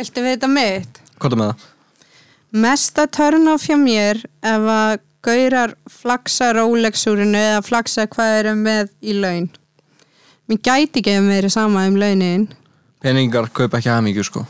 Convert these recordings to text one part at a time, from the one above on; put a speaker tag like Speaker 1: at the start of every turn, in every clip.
Speaker 1: Viltu vita mitt?
Speaker 2: Hvað er með það?
Speaker 1: Mesta törnáf hjá mér ef að gaurar flaksa rólegsúrinu eða flaksa hvað þeir eru með í laun. Mér gæti ekki að mér sama um launin.
Speaker 2: Peningar kaupa ekki hamingju sko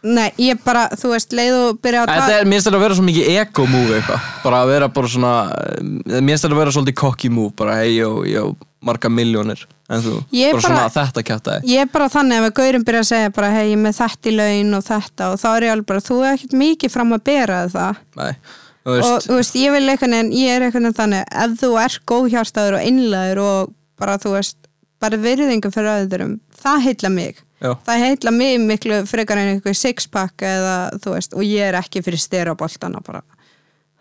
Speaker 1: Nei, ég bara, þú veist, leið og byrja að
Speaker 2: Þetta er, mér stæði að vera svo mikið ego move eitthvað Bara að vera bara svona eh, Mér stæði að vera svolítið cocky move Bara hei, jó, jó, marga miljónir En þú,
Speaker 1: Ég
Speaker 2: bara,
Speaker 1: bara-
Speaker 2: svona þetta kjátaði
Speaker 1: Ég er bara þannig ef að gaurin byrja að segja bara hei, ég er með þetta í laun og þetta og þá er ég alveg bara, þú er ekkert mikið fram að bera það.
Speaker 2: Nei, þú veist
Speaker 1: og þú veist, ég vil einhvern veginn ég er einhvern veginn þannig, ef þú er góðhjartaður og einlæður og bara þú veist bara virðingu fyrir öðrum það heilla mig,
Speaker 2: Já,
Speaker 1: það heilla mig miklu frekar en einhver sixpack eða þú veist, og ég er ekki fyrir styraboltana bara,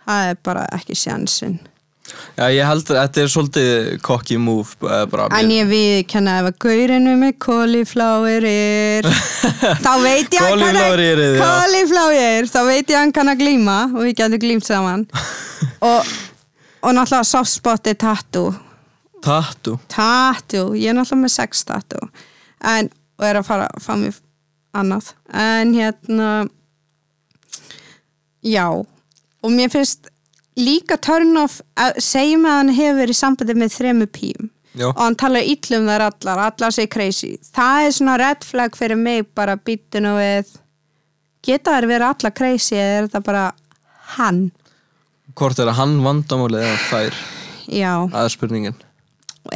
Speaker 1: það er bara ekki sjansinn,
Speaker 2: já ég held að þetta er svolítið cocky move eh, bara,
Speaker 1: en ég við kenna ef að gaurinu með kólifláirir þá veit ég hann kann að-
Speaker 2: Cauliflowerið, já.
Speaker 1: Cauliflower, þá veit ég hann kann að glíma og við getum glímt saman og, og náttúrulega softspotið tattoo
Speaker 2: Tattu
Speaker 1: tattoo, ég er náttúrulega með sex tattoo en, og er að fara að fá mér annað en hérna já og mér finnst líka turn off að segjum að hann hefur verið í sambandi með þremu pím
Speaker 2: Já,
Speaker 1: og hann talar illum þær allar, allar sé crazy það er svona red flag fyrir mig bara býtun og við geta þær verið allar crazy eða er þetta bara hann
Speaker 2: hvort er að hann vandamálið eða þær
Speaker 1: já
Speaker 2: Það er spurningin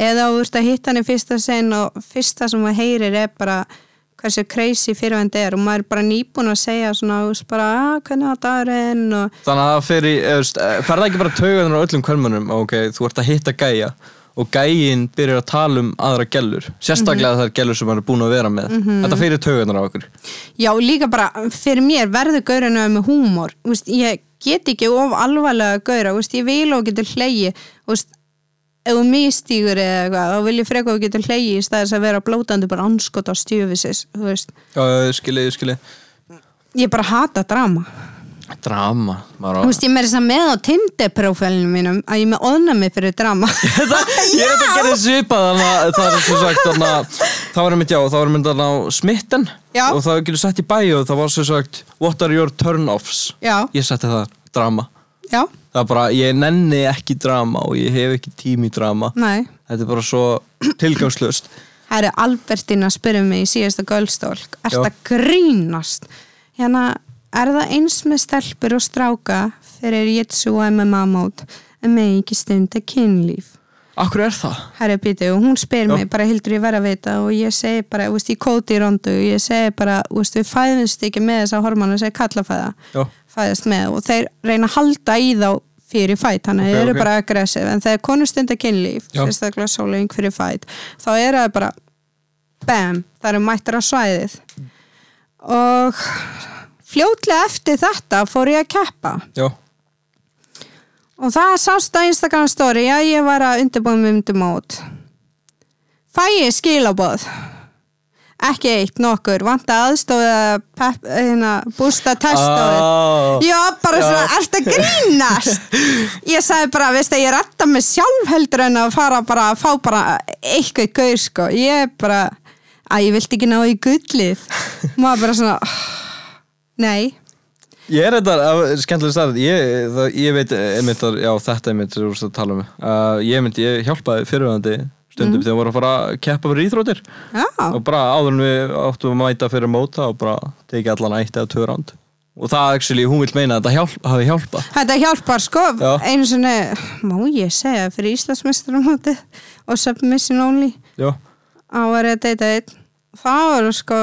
Speaker 1: eða þú ert að hitta hann í fyrsta sen og fyrsta sem maður heyrir er bara hversu crazy fyrirvændi er og maður er bara nýbúin að segja svona þú veist bara, að hvernig var dagurinn og
Speaker 2: Þannig að það fer í, eða, veist, eh, fer það ekki bara taugarnar á öllum kvörmönum, ok, þú ert að hitta gæja og gæjin byrjar að tala um aðra gellur, sérstaklega
Speaker 1: Mhm.
Speaker 2: þær gellur sem hann er búin að vera með, þetta fer í taugarnar á okkur
Speaker 1: já, líka bara fyrir mér verður gaurinu með húmor Þú veist, ég get ekki of alvarlega gaura, Þú veist, ég vil og getur hlegi veist, ef þú mistýgur eða eitthvað, þá vil ég freka og getur hlegi í staðis að vera blótandi bara anskot á stjöfisis þú veist,
Speaker 2: Já, já, ég skilji, ég skilji
Speaker 1: ég bara hata drama
Speaker 2: Drama, maður á
Speaker 1: Þú veist, ég meiri þess að með á Tinder-prófælinu mínum að ég er með óðnami fyrir drama.
Speaker 2: Ég er þetta að gera svipað þannig að það er sem sagt þannig að það var einmitt já, það var einmitt þannig á smitten
Speaker 1: Já.
Speaker 2: og það getur sett í bæju og það var sem sagt what are your turn-offs
Speaker 1: já,
Speaker 2: ég setti það drama
Speaker 1: já,
Speaker 2: það er bara, ég nenni ekki drama og ég hef ekki tími drama
Speaker 1: næ.
Speaker 2: þetta er bara svo tilgangslust
Speaker 1: Það eru Albertín að spyrja mig í síðasta gölstólk. Er
Speaker 2: Já.
Speaker 1: það grínast? Hérna, er það eins með stelpur og stráka fyrir Jitsu og MMA mót en með ekki stund að kynlíf?
Speaker 2: Akkur er það?
Speaker 1: Herra býti og hún spyr
Speaker 2: Já.
Speaker 1: mig bara hildur ég verð að vita og ég segi bara, þú veist, ég kóti í rondu og ég segi bara, þú veist, við fæðumst ekki með þessa hormonu sem er kallafæða
Speaker 2: Já.
Speaker 1: fæðast með og þeir reyna að halda í þá fyrir fætt, þannig að
Speaker 2: Ok,
Speaker 1: þeir eru
Speaker 2: ok.
Speaker 1: bara aggressiv en þegar konur stundar kynlíf,
Speaker 2: Já.
Speaker 1: sérstaklega sóling fyrir fætt, þá er það bara bam, það eru mættar á svæðið og fljótlega eftir þetta fór ég að keppa
Speaker 2: Já
Speaker 1: Og það sást á Instagram story að ég var að undirbúið mig undir mót. Fæ ég skilaboð? Ekki eitt, nokkur. Vanta aðstóð að pep, hérna, bústa testóðið.
Speaker 2: Ah.
Speaker 1: Já, bara
Speaker 2: Já.
Speaker 1: svona, ert að grínast? Ég sagði bara, veist að ég retta mig sjálf heldur en að fara bara að fá bara eitthvað gaur, sko. Ég er bara, að ég vildi ekki ná í gullið. Maður bara svona, nei.
Speaker 2: Ég er þetta skemmtilega starf ég, það, ég veit einmitt að, já þetta einmitt sem þú vorst að tala um uh, ég einmitt, ég hjálpaði fyrirvæðandi stundum þegar voru að fara að keppa fyrir íþrótir
Speaker 1: Mhm. Já,
Speaker 2: og bara áður en við áttum að mæta fyrir móta og bara tekið allan eitt eða tvö ránd og það actually, hún vil meina að þetta hjálp, hafi hjálpa
Speaker 1: Þetta hjálpar sko,
Speaker 2: Já.
Speaker 1: einu sinni, má ég segja, fyrir Íslandsmeistramótið og Submission Only
Speaker 2: Já,
Speaker 1: á að reyða deyta einn. Það voru sko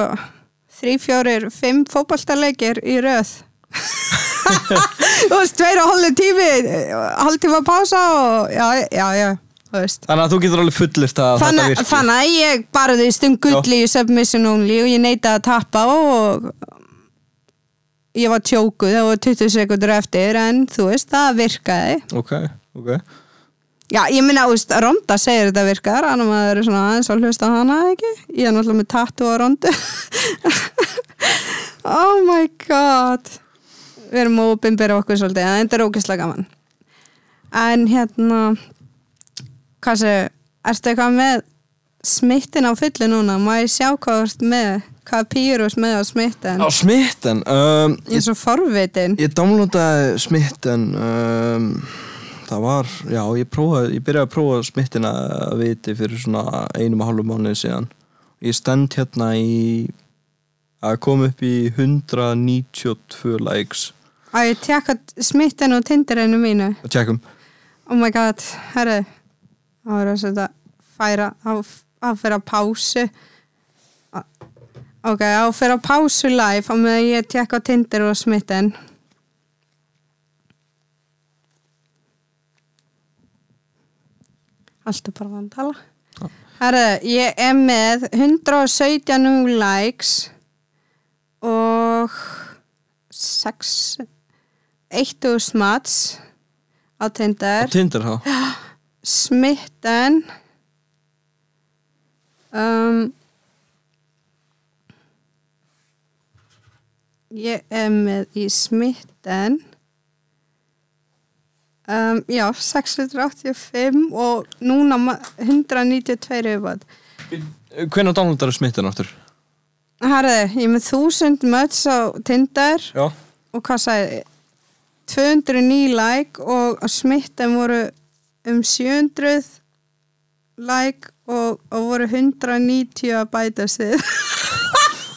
Speaker 1: þrý, fjórir, fimm fótballtaleikir í röð. þú veist, tveir og hálfur tími, hálftíma pása og já, já, já, þú veist.
Speaker 2: þannig að þú getur alveg fullirt að þetta
Speaker 1: Þannig,
Speaker 2: virki
Speaker 1: þannig að ég barðist um gulli í Submission Only og ég neitaði að tappa og ég var tjókuð, það voru 20 sekundur eftir en þú veist, það virkaði.
Speaker 2: Ok, ok
Speaker 1: Já, ég minna, veist, Ronda segir þetta virkar, annar maður er svona aðeins að hlusta á hana, ekki? Ég er náttúrulega með tattu á Rondu. oh my god. Við erum að opinbera okkur svolítið, en þetta er ógeðslega gaman. En hérna, hvað segir, ertu eitthvað með smittin á fullu núna má ég sjá hvað þú ert með hvað pýrus með á smittin
Speaker 2: Á smitten um,
Speaker 1: ég er svo forvitin
Speaker 2: Ég downloadaði smitten um, Það var, já, ég prófaði Ég byrjaði að prófa smittina að viti fyrir svona einum og hálfum mánuði síðan Ég stend hérna í að koma upp í 192 likes
Speaker 1: að ég tjekka smittin og tindirinu mínu
Speaker 2: og tjekkum
Speaker 1: oh my god, herru þá er þess að þetta færa á, á fyrir að pásu Á- ok, á fyrir að pásu live á meðan ég tjekka á tindir og smittin allt er bara vandala herru, ég er með 117 nú likes og 6 1000 mats á
Speaker 2: Á
Speaker 1: tindir
Speaker 2: Tinder þá
Speaker 1: smitten um, ég er með í smitten um, já 685 og núna ma- 192 yfirbátt
Speaker 2: Hvernig downloadaði smittin áttur?
Speaker 1: Herði, ég er með 1000 möts á Tinder
Speaker 2: Já
Speaker 1: og hvað sagði 209 like og á smitten voru um 700 like og, og voru 190 að bæta sig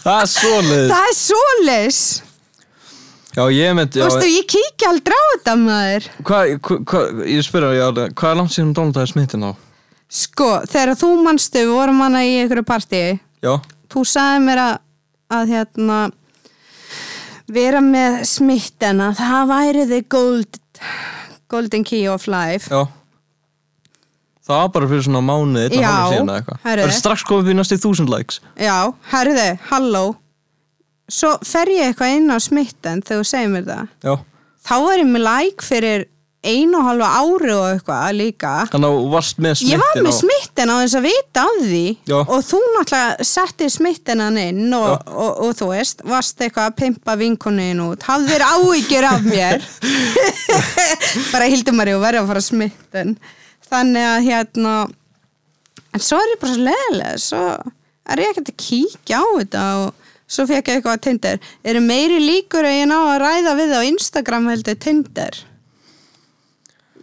Speaker 2: Það er svoleið
Speaker 1: það er svoleis
Speaker 2: Já, ég er með
Speaker 1: þú
Speaker 2: já,
Speaker 1: veistu, ég kíkja aldrei á þetta maður
Speaker 2: hvað, hvað, hvað, Ég spyrja, já, hvað er langt síðan downloadaði smittin á?
Speaker 1: sko, þegar þú manstu við vorum hana í einhverju partíi
Speaker 2: Já
Speaker 1: þú sagði mér að, að hérna vera með smittena það væri þið gold golden key of life
Speaker 2: Já Það var bara fyrir svona mánuði til
Speaker 1: Já,
Speaker 2: hálfum síðan eða eitthvað Það
Speaker 1: herri.
Speaker 2: er strax komið upp í næstu þúsund likes
Speaker 1: Já, herðu, halló Svo fer ég eitthvað inn á smitten þegar þú segir mér það
Speaker 2: Já
Speaker 1: Þá var ég með like fyrir einu og halva ári og eitthvað líka
Speaker 2: Þannig að þú varst með smittin
Speaker 1: Ég var með
Speaker 2: á-
Speaker 1: smitten á þess að vita af því
Speaker 2: Já.
Speaker 1: og þú náttúrulega setti smittinan inn og, og, og, þú veist, varst eitthvað að pimpa vinkonin út hafðir áhyggjur af mér bara hildur maður og verið að fara smitten þannig að hérna en svo er ég bara svo leðilega svo er ég ekkert að kíkja á þetta og svo fekk ég eitthvað að Tinder eru meiri líkur að ég ná að ræða við á Instagram heldur Tinder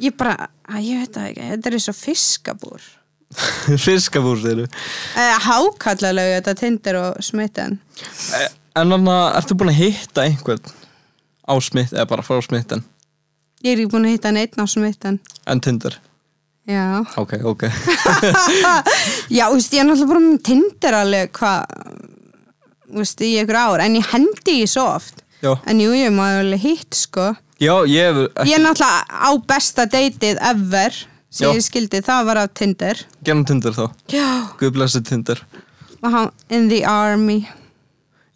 Speaker 1: ég bara, að ég veit það ekki þetta er eins og fiskabúr
Speaker 2: Fiskabúr þeirru
Speaker 1: eða hákallalegu Eh, þetta tindir og smitten
Speaker 2: Eh, En þannig að ertu búin að hitta einhvern á smitt eða bara frá smittin
Speaker 1: ég er ekki búin að hitta neitt á smitten
Speaker 2: en Tinder
Speaker 1: já,
Speaker 2: Ok, ok
Speaker 1: já, þú veist, ég er náttúrulega bara með tindir alveg hvað þú veist, í ykkur ár, en ég hendi ekki svo oft
Speaker 2: Já,
Speaker 1: en jú, ég maður alveg hitt, sko
Speaker 2: já ég hef
Speaker 1: ég er náttúrulega á besta deytið ever, sem
Speaker 2: Já.
Speaker 1: ég skildi það var á tindir
Speaker 2: genum Tinder þá
Speaker 1: já,
Speaker 2: Guð blessi Tinder
Speaker 1: og hann in the army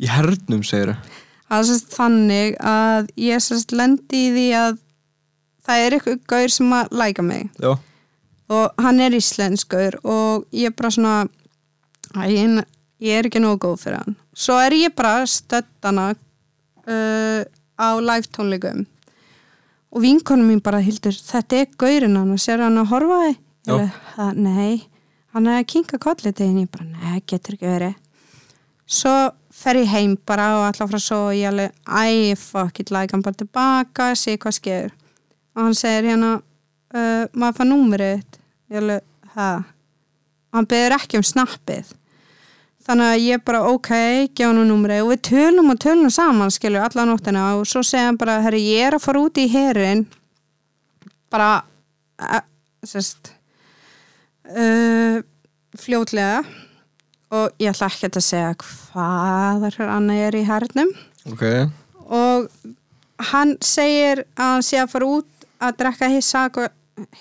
Speaker 2: Í hernum segiru
Speaker 1: það er sérst þannig að ég sérst lendi í því að það er eitthvað gaur sem að læka mig
Speaker 2: Já
Speaker 1: og hann er íslenskur og ég er bara svona æ, ég, ég er ekki nógu góð fyrir hann svo er ég bara stöttana uh, á live tónleikum og vinkonum mín bara hildur þetta er gaurinn hann og sér hann að horfa á þig?" Ég
Speaker 2: Já.
Speaker 1: alveg, "Ha, nei, hann er að kinka kollið til henni, ég bara, nei, getur ekki verið svo fer ég heim bara og allar frá svo og ég alveg, æ, fuck it, like hann bara tilbaka, sé hvað skeður og hann segir hérna uh, maður fá númerið þitt. ég alveg, hæ og hann beður ekki um snappið þannig að ég bara, ok, gefa hann númerið og við tölum og tölum saman skilur alla nóttina og svo segir hann bara herri, ég er að fara út í herin bara eh, sérst uh, fljótlega og ég ætla ekki að segja hvað hann er í hernum
Speaker 2: Ok
Speaker 1: og hann segir að hann sé að fara út að drekka heisako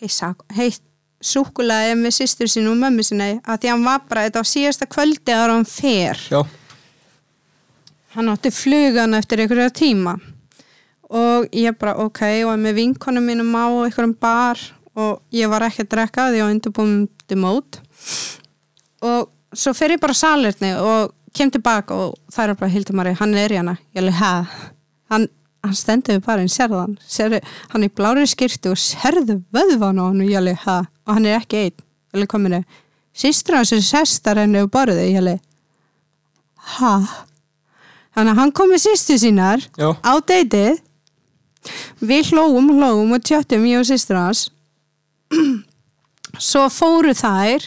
Speaker 1: heisako, heitt súkulaði með sýstur sín og mömmu sinni að því hann var bara þetta á síðasta kvöldi ára hann fer
Speaker 2: Já
Speaker 1: hann átti flugan eftir einhverja tíma og ég bara ok og var með vinkonum mínum á einhverjum bar og ég var ekki að drekka því ég var undirbúndi mót og svo fer ég bara á salerni og kem tilbaka og það er bara Hildur Mari, hann er í hana ég alveg hæ, hann, hann stendur við barinn, sérðu hann sérðu, hann er í blári skirtu og sérðu vöðvan á hann og ég alveg hæ, og hann er ekki einn, ég alveg kominu sýstur hans er sestar henni og borðið ég held ha þannig að hann kom með sýstu sínar
Speaker 2: Já.
Speaker 1: á deytið við hlóum, hlóum og tjöttum ég og sýstur hans svo fóru þær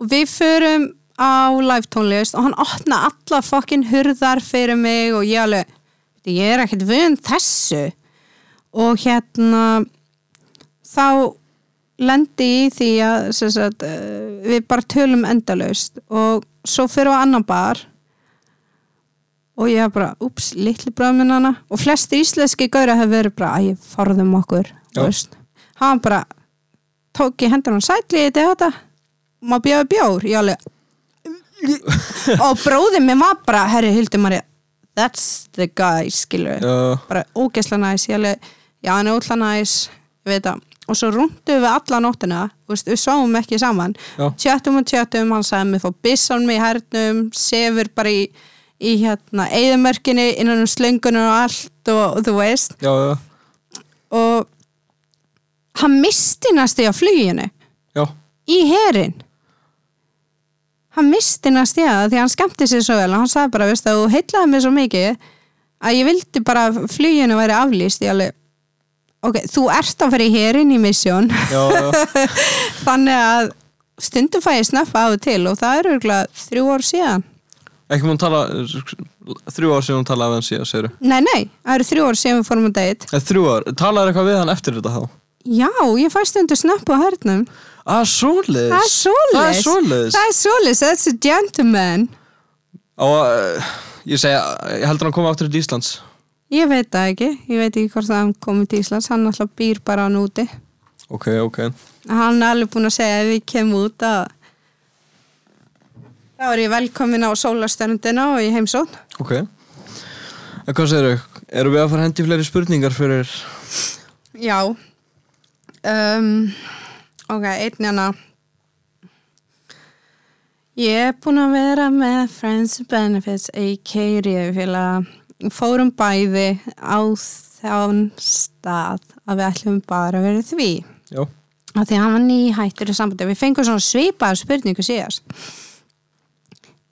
Speaker 1: og við förum á live tónlist og hann opna alla fokkin hurðar fyrir mig og ég alveg ég er ekkert vun þessu og hérna þá lendi ég í því að sem sagt, eh, við bara tölum endalaust og svo fyrir á annan bar og ég er bara, ups, litli bráðminn hana og flestir íslenski gauðra hefur verið bara, æ, forðum okkur
Speaker 2: Já.
Speaker 1: þú veist. hann bara tók í hendur hann sætli í þetta má bjóða bjór, ég alveg og bróðið minn var bara herri Hildur Maria, that's the guy skilur við
Speaker 2: Já.
Speaker 1: bara ógeðsla næs ég alveg, já hann er ógeðsla næs ég veit það, og svo rúndum við alla nóttina þú veist, við sáum ekki saman
Speaker 2: Já.
Speaker 1: tjöttum og tjöttum, hann sagði mér fór byssan mig í hernum, sefur bara í í hérna, eigðumörkinni innan um slöngunum og allt og, og þú veist,
Speaker 2: Já, já,
Speaker 1: og hann misti næstu í að fluginu
Speaker 2: já,
Speaker 1: í herin hann misti næst ég að því hann skemmti sér svo vel og hann sagði bara, veist það, þú heillaði mig svo mikið að ég vildi bara að fluginu væri aflýst, ég alveg ok, þú ert að fara í herin í misjón
Speaker 2: já, já,
Speaker 1: þannig að stundum fæ ég snappa á og til og það er örgulega þrjú ár síðan
Speaker 2: ekki múin tala þrjú ár síðan hún talaði við hann síðan, segir
Speaker 1: nei, nei, það eru þrjú ár síðan við fórum að deit
Speaker 2: Eh, þrjú ár, talaði eitthvað við hann eftir þetta þá
Speaker 1: já, ég fæ stundu snappa á hernum
Speaker 2: að Ah, svoleiðis
Speaker 1: það er Ah, svoleiðis
Speaker 2: það er svoleiðis
Speaker 1: það er svoleiðis, that's a gentleman
Speaker 2: og uh, ég segja, ég heldur hann koma aftur til Íslands
Speaker 1: Ég veit það ekki, ég veit ekki hvort að hann komið til Íslands, hann alltaf býr bara hann úti.
Speaker 2: ok, ok,
Speaker 1: Hann er alveg búin að segja ef ég kem út að þá er ég velkomin á sólastöndina og í heimsótt.
Speaker 2: ok en hvað segir þau, erum við að fara að hendi í fleiri spurningar fyrir
Speaker 1: Já. Um, ok, einn hérna. Ég er búin að vera með Friends and Benefits a.k.a. Ríðfélag. Fórum bæði á þján stað að við ætlum bara að vera í því.
Speaker 2: já,
Speaker 1: að því að hann var nýhættur í sambandi við fengum svona svipaðar spurningu síðast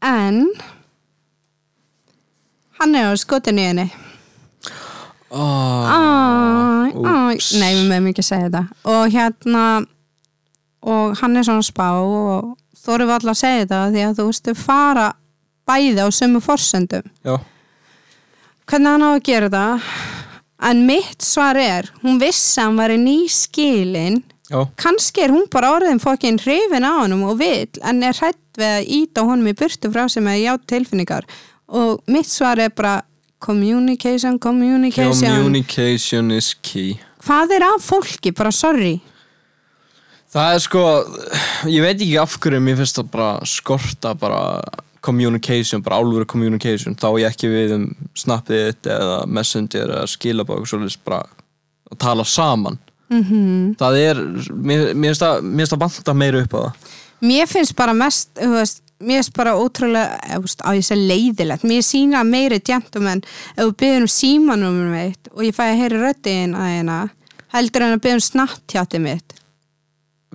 Speaker 1: en hann er á skotinu í henni Ah.
Speaker 2: oh,
Speaker 1: Æ, æ,
Speaker 2: Úps.
Speaker 1: nei, við meðum ekki að segja þetta og hérna og hann er svona að spá og þórum við allar að segja þetta af því að þú veistu fara bæði á sömu forsendum
Speaker 2: já,
Speaker 1: hvernig hann á að gera þetta en mitt svar er hún vissi að hann væri nýskilin
Speaker 2: já
Speaker 1: kannski er hún bara orðin fokkin hrifin á honum og vill en er hrætt við að íta honum í burtu frá sem að já tilfinningar og mitt svar er bara communication, communication
Speaker 2: communication is key
Speaker 1: hvað er af fólki, bara sorry
Speaker 2: það er sko, ég veit ekki af hverju mér finnst það bara skorta bara communication, bara álfur communication, þá á ég ekki við um snappið þitt eða messenger eða skilabók, svolítið bara að tala saman -hmm.
Speaker 1: Mhm.
Speaker 2: það er, mér mér finnst það mér finnst það vanta meira upp á það
Speaker 1: mér finnst bara mest þú veist, mér finnst bara ótrúlega eh, þú veist, á ég að segja leiðilegt, mér sína meiri gentleman ef þú byrðum símanum mitt og ég fæ að heyra röddin að hérna heldur en að byrðum snapptjátti mitt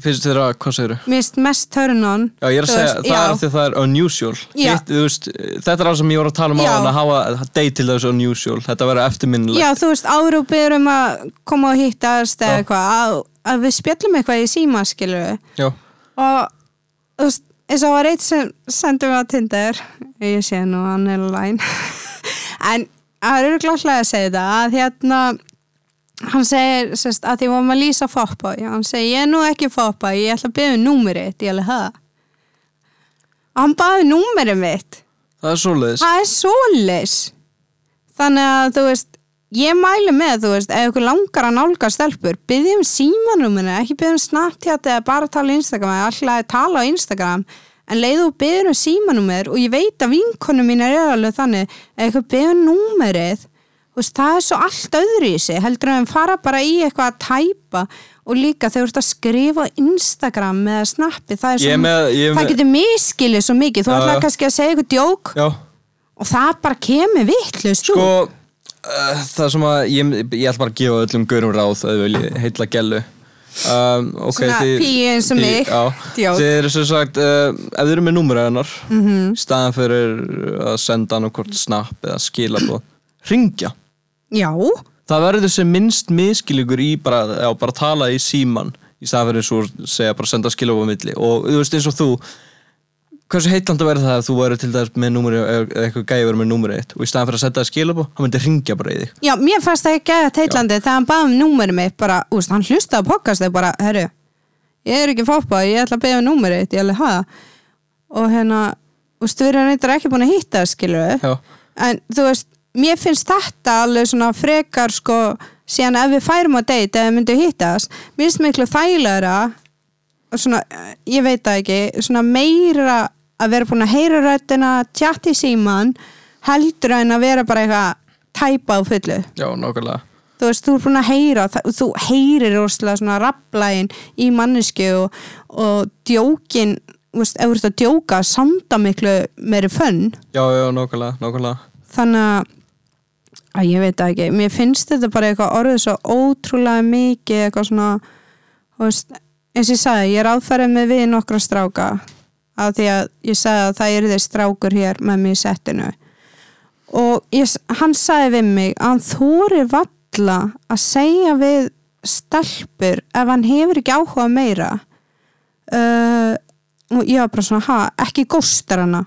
Speaker 2: finnst þér að, hvað segir
Speaker 1: mér finnst mest törn on
Speaker 2: Já, ég er að
Speaker 1: þú
Speaker 2: segja,
Speaker 1: veist,
Speaker 2: það
Speaker 1: já.
Speaker 2: er af því að það er unusual
Speaker 1: Já.
Speaker 2: Hitt, þú veist, Þetta er alveg sem ég voru að tala um á
Speaker 1: Já.
Speaker 2: hann að hafa date til þessu unusual, þetta verður eftirminnilegt
Speaker 1: Já, þú veist, árúpið um að koma og hittast eða eitthvað, að, að við spjöllum eitthvað í síma, skilur við.
Speaker 2: Já,
Speaker 1: Og, þú veist, eins og var eitt sem sendum við á Tinder, ég sé nú, hann er læn. en það eru glaslega að segja þetta, að hérna, hann segir, sérst, að því vorum að lýsa foppa, hann segir, ég er nú ekki foppa, ég ætla að byggja um númerið, ég ætla það. Hann baði númerið mitt.
Speaker 2: það er svoleiðis
Speaker 1: Það er svoleiðis Þannig að þú veist Ég mæli með, þú veist, ef ykkur langar að nálga stelpur, byggjum símanumina ekki byggjum snartjátt eða bara tala á Instagram eða alltaf að tala á Instagram en leiðu og byggjum símanumir og ég veit að vinkonum mín er alveg þannig ef ykkur byggjum númerið þú veist, það er svo allt öðru í sig heldur en fara bara í eitthvað að tæpa og líka þegar þú ert að skrifa á Instagram eða snappi, það er
Speaker 2: Ég
Speaker 1: svo
Speaker 2: er með, ég er
Speaker 1: það
Speaker 2: með
Speaker 1: getur miskilið svo mikið, þú
Speaker 2: Já,
Speaker 1: ætlaði
Speaker 2: já.
Speaker 1: kannski að segja eitthvað djók
Speaker 2: Já,
Speaker 1: og það bara kemur vittlust
Speaker 2: Sko, eh, uh, það sem að ég, ég ætla bara að gefa öllum gaurum ráð að þau vilji heilla gellu um, ok,
Speaker 1: Svona
Speaker 2: þið-
Speaker 1: píu eins og
Speaker 2: píu,
Speaker 1: mig.
Speaker 2: já.
Speaker 1: Djók. Mhm.
Speaker 2: Þið eru sem sagt, uh, ef þið eru með númur hennar mm -hmm. staðan fyrir að senda hann hvort snapp eða skilabóð ringja
Speaker 1: Já,
Speaker 2: það verður sem minnst miskilíkur í bara, já, bara tala í síman í staðan fyrir svo segja bara senda skilabóð á milli og þú veist eins og þú hversu heitlanda verður það að þú verður til dæmis með númuri eða eitthvað gæði verður með númuri eitt og í staðan fyrir að senda skilabóð, hann myndi ringja bara í þig
Speaker 1: já, mér fannst það ekki að teitlandi þegar hann baði um númerið mitt bara, úst, hann hlustaði á podcast og bara, herru, ég er ekki fótbað, ég ætla að beða um númerið þitt, ég ætla að hafa og hérna, úst, við erum eitthvað ekki búin að hitta, skilur við
Speaker 2: já,
Speaker 1: en þú veist, mér finnst þetta alveg svona frekar sko síðan ef við færum á date eða myndum hittast, mér finnst miklu þægilegra og svona, eh, ég veit það ekki svona meira að vera búin að heyra röddina, tjatt í síman heldur en að vera bara eitthvað tæpa á fullu
Speaker 2: já, nákvæmlega
Speaker 1: þú veist, þú er búin að heyra það- þú heyrir rosalega svona rapplægin í mannesku og, og djókin, þú veist, ef þú ert að djóka samda miklu meiri fönn
Speaker 2: já, já, nákvæmlega, nákvæmlega
Speaker 1: þannig að- að ég veit það ekki, mér finnst þetta bara eitthvað orðið svo ótrúlega mikið eitthvað svona þú veist, eins og ég sagði, ég er áðfærið með við nokkra stráka af því að ég sagði að það eru þeir strákur hér með mér í settinu og ég, s- hann sagði við mig að hann þóri valla að segja við stelpur ef hann hefur ekki áhuga á meira uh, og ég var bara svona, ha, ekki góstar hana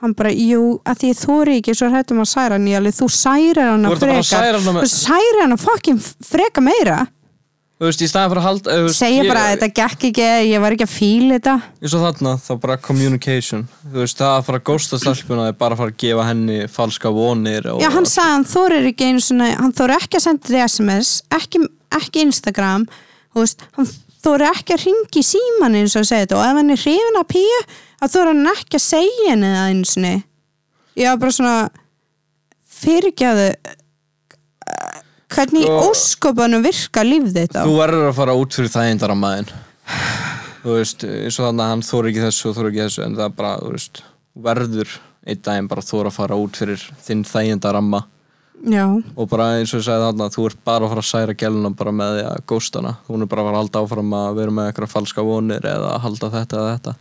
Speaker 1: hann bara, jú, að því ég þóri ekki svo hrættum að særa hann, ég alveg, þú særar hana
Speaker 2: Þú ert að fara að
Speaker 1: frekar,
Speaker 2: særa hana með-
Speaker 1: þú særar hana fucking freka meira
Speaker 2: þú veist, í staðan fyrir að halda þú veist,
Speaker 1: segja
Speaker 2: ég-
Speaker 1: bara að þetta gekk ekki, ég var ekki að fíla þetta
Speaker 2: eins og þarna þá bara communication þú veist það að fara að gósta stelpuna er bara að fara að gefa henni falska vonir og,
Speaker 1: já, hann sagði hann þorir ekki einu svona, hann þorir ekki að senda þér sms ekki, ekki Instagram þú veist, hann þorir ekki að ringi síman eins og segja þetta og ef hann er hrifin að píu, þá þorir hann ekki að segja henni það einu sinni ég var bara svona fyrirgjáðu eh, hvernig í
Speaker 2: Sko-
Speaker 1: ósköpunum virka líf þetta
Speaker 2: þú verður að fara út fyrir það eindar að maðin þú veist eins og þarna hann þóri ekki þessu og þóri ekki þessu en það er bara þú veist þú verður einn daginn bara þóra að fara út fyrir þinn þægindaramma
Speaker 1: já,
Speaker 2: og bara eins og ég sagði þarna þú ert bara að fara að særa gæluna bara með því að gósta hana hún er bara að fara að halda áfram að vera með eitthvað falska vonir eða að halda þetta eða þetta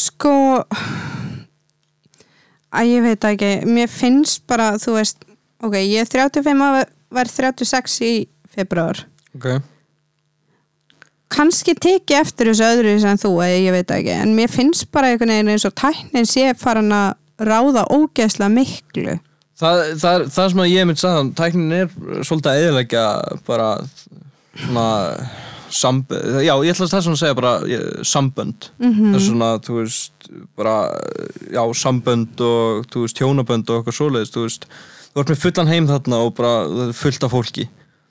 Speaker 1: sko að ég veit það ekki mér finnst bara, þú veist ok, ég er 35 og var 36 í februar
Speaker 2: okay.
Speaker 1: kannski teki eftir þessu öðru sem þú eða ég veit það ekki, en mér finnst bara einhvern veginn eins og tæknin sé farin að ráða ógeðslega miklu
Speaker 2: það, það, er- það sem að ég mynd sagði tæknin er svolítið að eðilegja bara svona sambönd, já ég ætla að það sem að segja bara eh, sambönd það er svona, þú veist, bara já, sambönd og, þú veist, hjónabönd og eitthvað svoleiðis, þú veist þú ert með fullan heim þarna og bara það er fullt af fólki,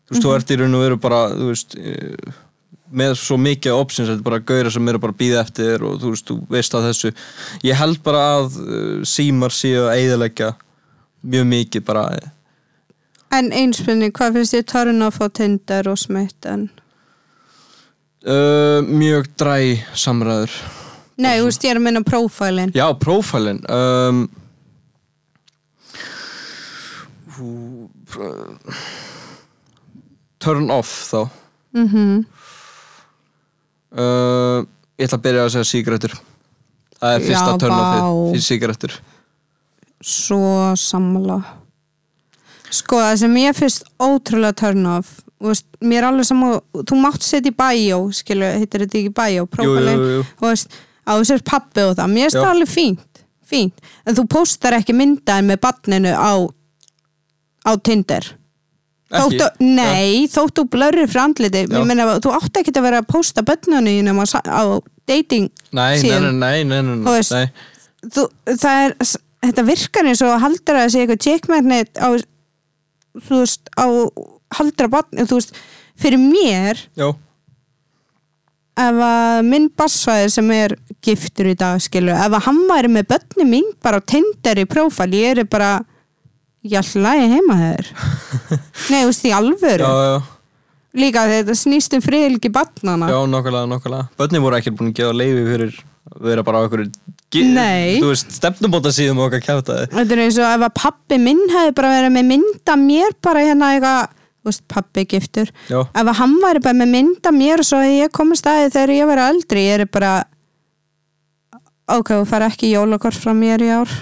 Speaker 2: þú veist, þú ert í raun og veru bara, þú veist eh, með svo mikið opsins, þetta er bara gauðra sem eru bara að býða eftir þér og þú veist, þú veist að þessu ég held bara að eh, símar séu að eðilegja mjög mikið bara
Speaker 1: en einspilni, hvað finnst þið törn að fá tindar og smitten
Speaker 2: uh, mjög dræ samræður
Speaker 1: nei, þú veist, ég er að minna prófælin
Speaker 2: já, prófælin um, hú, pr- turn off þá
Speaker 1: mm
Speaker 2: uh, ég ætla að byrja að segja sígrættur það er fyrsta
Speaker 1: Já,
Speaker 2: turn offið
Speaker 1: vá.
Speaker 2: fyrir sígrættur
Speaker 1: svo sammála sko það sem ég finnst ótrúlega turn off þú veist, mér er alveg saman þú mátt setja í bæjó, skilu, hittir þetta ekki bæjó
Speaker 2: jú,
Speaker 1: prófælin,
Speaker 2: jú, jú.
Speaker 1: þú veist að þú sér pappi og það, mér finnst
Speaker 2: Já.
Speaker 1: það alveg fínt fínt, en þú póstar ekki myndaðin með barninu á á Tinder
Speaker 2: ekki
Speaker 1: Þóttu, nei, þóttu blörri framliti
Speaker 2: Já.
Speaker 1: ég meina, þú átt ekki að vera að pósta bönnunni á, sa- á dating
Speaker 2: nei, nei, nei,
Speaker 1: síðan.
Speaker 2: nei, nei,
Speaker 1: Þú
Speaker 2: nei, nei,
Speaker 1: veist,
Speaker 2: nei.
Speaker 1: þú, það er þetta virkar eins og haldur að segja eitthvað checkmagnet á þú veist, á haldra barn þú veist, fyrir mér
Speaker 2: já,
Speaker 1: ef að minn bassfæði sem er giftur í dag, skilur, ef að hann væri með börni mín bara á Tinder í prófæl ég er bara ég ætla að ég heima þeir nei, þú veist, í alvöru
Speaker 2: já, já,
Speaker 1: líka þetta snýst um friðilgi barnana
Speaker 2: já, nokkulega, nokkulega börnin voru ekki búin að gefa leifi fyrir að vera bara á einhverju ge-
Speaker 1: Nei.
Speaker 2: þú veist, stefnumóta síðum okkar kjátaði
Speaker 1: Þetta er eins og ef að pappi minn hefði bara verið með mynda mér bara hérna eitthvað, þú úst, pappi giftur
Speaker 2: já,
Speaker 1: ef að hann væri bara með mynda mér og svo að ég komið staði þegar ég var aldrei ég er bara ok, þú fara ekki jólakort frá mér í ár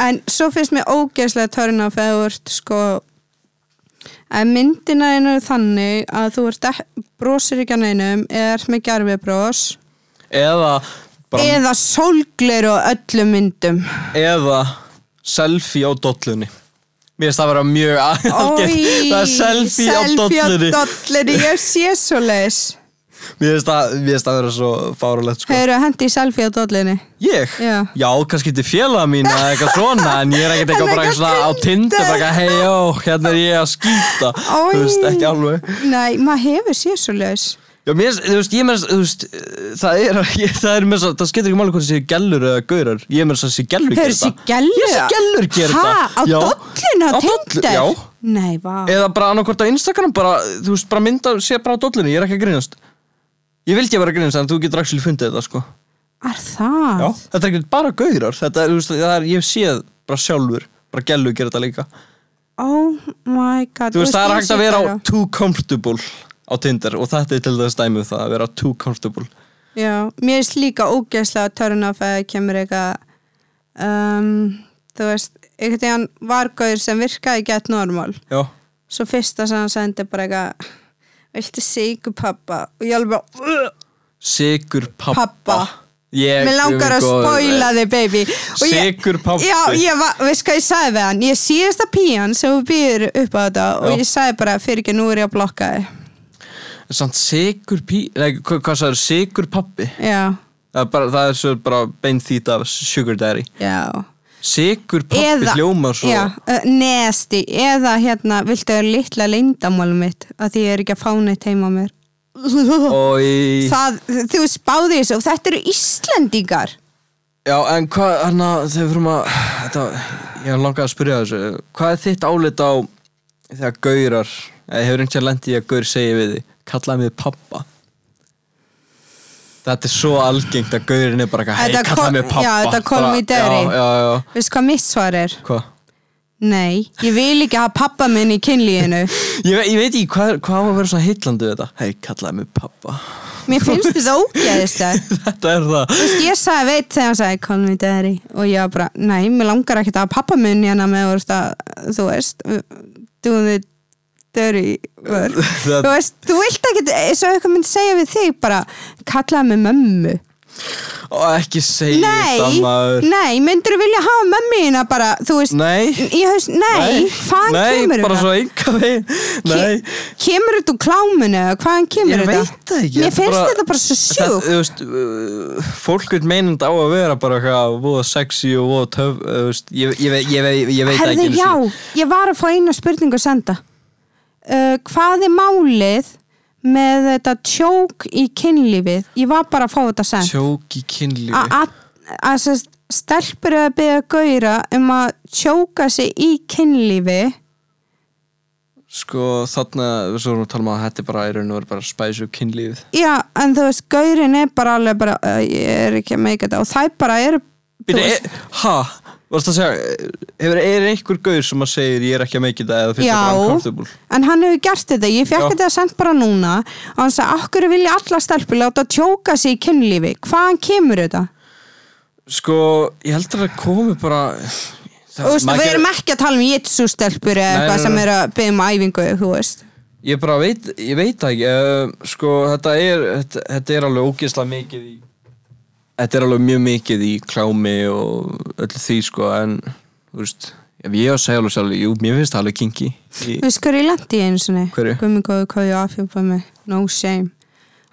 Speaker 1: en svo finnst mér ógeðslega törn af að þú ert sko að myndina einu þannig að þú ert ek- brosir ekki að neinum eða ert með gerfi bros
Speaker 2: eða bara,
Speaker 1: eða sólgler og öllum myndum
Speaker 2: eða selfie á dollunni mér finnst það vera mjög algjört það er selfie, á dollunni
Speaker 1: dollunni ég sé svo leis
Speaker 2: mér finnst það, mér finnst það vera svo fáralegt sko.
Speaker 1: hefur hendi selfie á dollunni
Speaker 2: ég?
Speaker 1: Já.
Speaker 2: kannski til félaga mín eða eitthvað svona en ég er ekkert eitthvað
Speaker 1: En
Speaker 2: bara
Speaker 1: eitthvað
Speaker 2: svona á tindu bara eitthvað hei jó, hérna er ég að skýta
Speaker 1: Oj.
Speaker 2: þú veist ekki alveg
Speaker 1: Nei, maður hefur séð svo leis
Speaker 2: Já, mér, finnst- þú veist, ég meðan, þú veist, það er, ég, það er meðan, það, það skiptir ekki máli hvort það séu gellur eða gaurar, ég meðan það séu gellur
Speaker 1: Hefur
Speaker 2: gera
Speaker 1: séð
Speaker 2: þetta.
Speaker 1: gælu
Speaker 2: Ég sé gellur gera
Speaker 1: Ha,
Speaker 2: þetta.
Speaker 1: á
Speaker 2: Já.
Speaker 1: dollinu á
Speaker 2: Á dollu-
Speaker 1: tindar
Speaker 2: Já, Eh.
Speaker 1: Nei, vá
Speaker 2: eða bara annarkvort á Instagram, bara, þú veist, bara mynda, sé bara á dollinu, ég er ekki að grínast. Ég vildi að vera að grínast, en þú getur actually fundið þetta, sko.
Speaker 1: Er það?
Speaker 2: Já. Þetta er ekki bara gaurar, þetta, er, þú veist, það er, ég hef séð bara sjálfur, bara gellur gera þetta líka.
Speaker 1: Oh my god
Speaker 2: Þú veist, það er
Speaker 1: ég
Speaker 2: hægt
Speaker 1: sé
Speaker 2: að vera á
Speaker 1: bara-
Speaker 2: too comfortable á Tinder og þetta er til þess dæmið um það, að vera too comfortable.
Speaker 1: Já, mér er líka ógeðslega törn af að kemur eitthvað um, Þú veist, einhvern veginn var gauður sem virkaði gett normal
Speaker 2: Já.
Speaker 1: Svo fyrsta sem hann sendi bara eitthvað Viltu sigur pappa? Og ég alveg bara
Speaker 2: Sigur pappa.
Speaker 1: Pappa.
Speaker 2: Ég,
Speaker 1: Mér langar að
Speaker 2: guð minn góður,
Speaker 1: spoila þig, baby. Og ég-
Speaker 2: Sigur pabbi.
Speaker 1: Já, ég var, veist hvað ég sagði við hann? Ég er síðasta pían sem við býður upp á þetta
Speaker 2: Já.
Speaker 1: og ég sagði bara, fyrir ekki, nú er ég að blokka þig.
Speaker 2: Samt sigur pí... Nei, hvað, hvað sagður? Sigur pabbi.
Speaker 1: Já,
Speaker 2: Það er bara, það er svo bara bein þýtt af sugar daddy.
Speaker 1: já.
Speaker 2: Sigur pabbi hljómar svo.
Speaker 1: Já, uh, nesti, eða hérna, viltu að litla leyndamálum mitt að því ég er ekki að fá neitt heima á mér.
Speaker 2: Og í...
Speaker 1: Það, þú spáði þessu og þetta eru Íslendingar.
Speaker 2: Já, en hvað, hérna, þegar fyrir maður... Þetta, ég langar að spyrja þessu. Hvað er þitt álit á þegar gaurar... Eða hefur einhvern lendi í að gaur segja við þig Kallaði mig pappa. Þetta er svo algengt að gaurinn er bara eitthvað, hei,
Speaker 1: Þetta
Speaker 2: kallaði
Speaker 1: kom-
Speaker 2: mig pappa.
Speaker 1: já, þetta kom
Speaker 2: Bara-
Speaker 1: í daddy.
Speaker 2: Já, já, já.
Speaker 1: Veistu hvað mitt svar er?
Speaker 2: Hvað?
Speaker 1: Nei, ég vil ekki hafa pappa minn í kynlíinu.
Speaker 2: Ég, ve ég veit ekki hvað, hvað á að vera svona hillandi við þetta Hei, kallaði mig pappa
Speaker 1: Mér finnst þetta ógeðislega.
Speaker 2: Þetta er það
Speaker 1: Þú veist, ég sagði veit þegar hann sagði call me daddy og ég var bara, nei, mér langar ekkert að pappa minn hérna með, þú veist, að, þú veist do the dirty work
Speaker 2: Það-
Speaker 1: þú veist, þú vilt ekkert eins og eitthvað mynd segja við þig bara, kallaði mig mömmu
Speaker 2: Og ekki segja þetta
Speaker 1: nei,
Speaker 2: maður
Speaker 1: nei, myndur þú vilja hafa mömmu hérna bara, þú veist
Speaker 2: Nei
Speaker 1: ég haust, nei, hvaðan
Speaker 2: Nei,
Speaker 1: kemur þetta?
Speaker 2: bara svo enga veginn Nei
Speaker 1: kemur þetta úr kláminu eða hvaðan kemur
Speaker 2: Ég
Speaker 1: þetta?
Speaker 2: veit það ekki
Speaker 1: mér finnst þetta bara svo
Speaker 2: Þetta-
Speaker 1: sjúk
Speaker 2: Þú veist, uh, fólk veit meinand á að vera bara eitthvað voða sexy og voða töf uh, þú veist, ég, ég, ég, ég, ég, ég veit það
Speaker 1: Herði,
Speaker 2: ekki einu
Speaker 1: já,
Speaker 2: sinni.
Speaker 1: ég var að fá eina spurningu að senda uh, Hvað er málið með þetta tjók í kynlífið? Ég var bara að fá þetta send
Speaker 2: Tjók í kynlífi
Speaker 1: Að- að- Að sem sagt, stelpur eru að byggja gauðra um að tjóka sig í kynlífi
Speaker 2: Sko, þarna, við svo erum að tala um að þetta er bara í raun og verið bara spæsu kynlífið
Speaker 1: Já, en þú veist, gauðrin er bara alveg bara, uh, ég er ekki að meika þetta og þær bara eru þú
Speaker 2: Býta,
Speaker 1: veist-
Speaker 2: e, ha, varst að segja hefur, er einhver gaur sem að segir ég er ekki að meikið það eða finnst
Speaker 1: Já,
Speaker 2: það bara uncomfortable
Speaker 1: en hann hefur gert þetta, ég
Speaker 2: Já.
Speaker 1: fekk þetta sent bara núna og hann sagði, okkur vilja alla stelpur láta tjóka sig í kynlífi, hvaðan kemur þetta?
Speaker 2: sko, ég heldur að það komi bara
Speaker 1: Þú veist, við
Speaker 2: maður gerir-
Speaker 1: erum ekki að tala um jitsustelpur eða
Speaker 2: Nei,
Speaker 1: eitthvað
Speaker 2: nei,
Speaker 1: sem
Speaker 2: nei.
Speaker 1: er að byggja um æfingu, þú veist.
Speaker 2: ég bara veit, ég veit það ekki uh, sko, þetta er þetta, þetta er alveg ógeðslega mikið í þetta er alveg mjög mikið í klámi og öllu því sko, en þú veist, ef ég á að segja alveg sjálf jú, mér finnst það alveg kinky í,
Speaker 1: Þú veist hverju ég lendi í einu sinni?
Speaker 2: Hverju?
Speaker 1: Gummi góðu hvað ég afhjúpaði mig, no shame.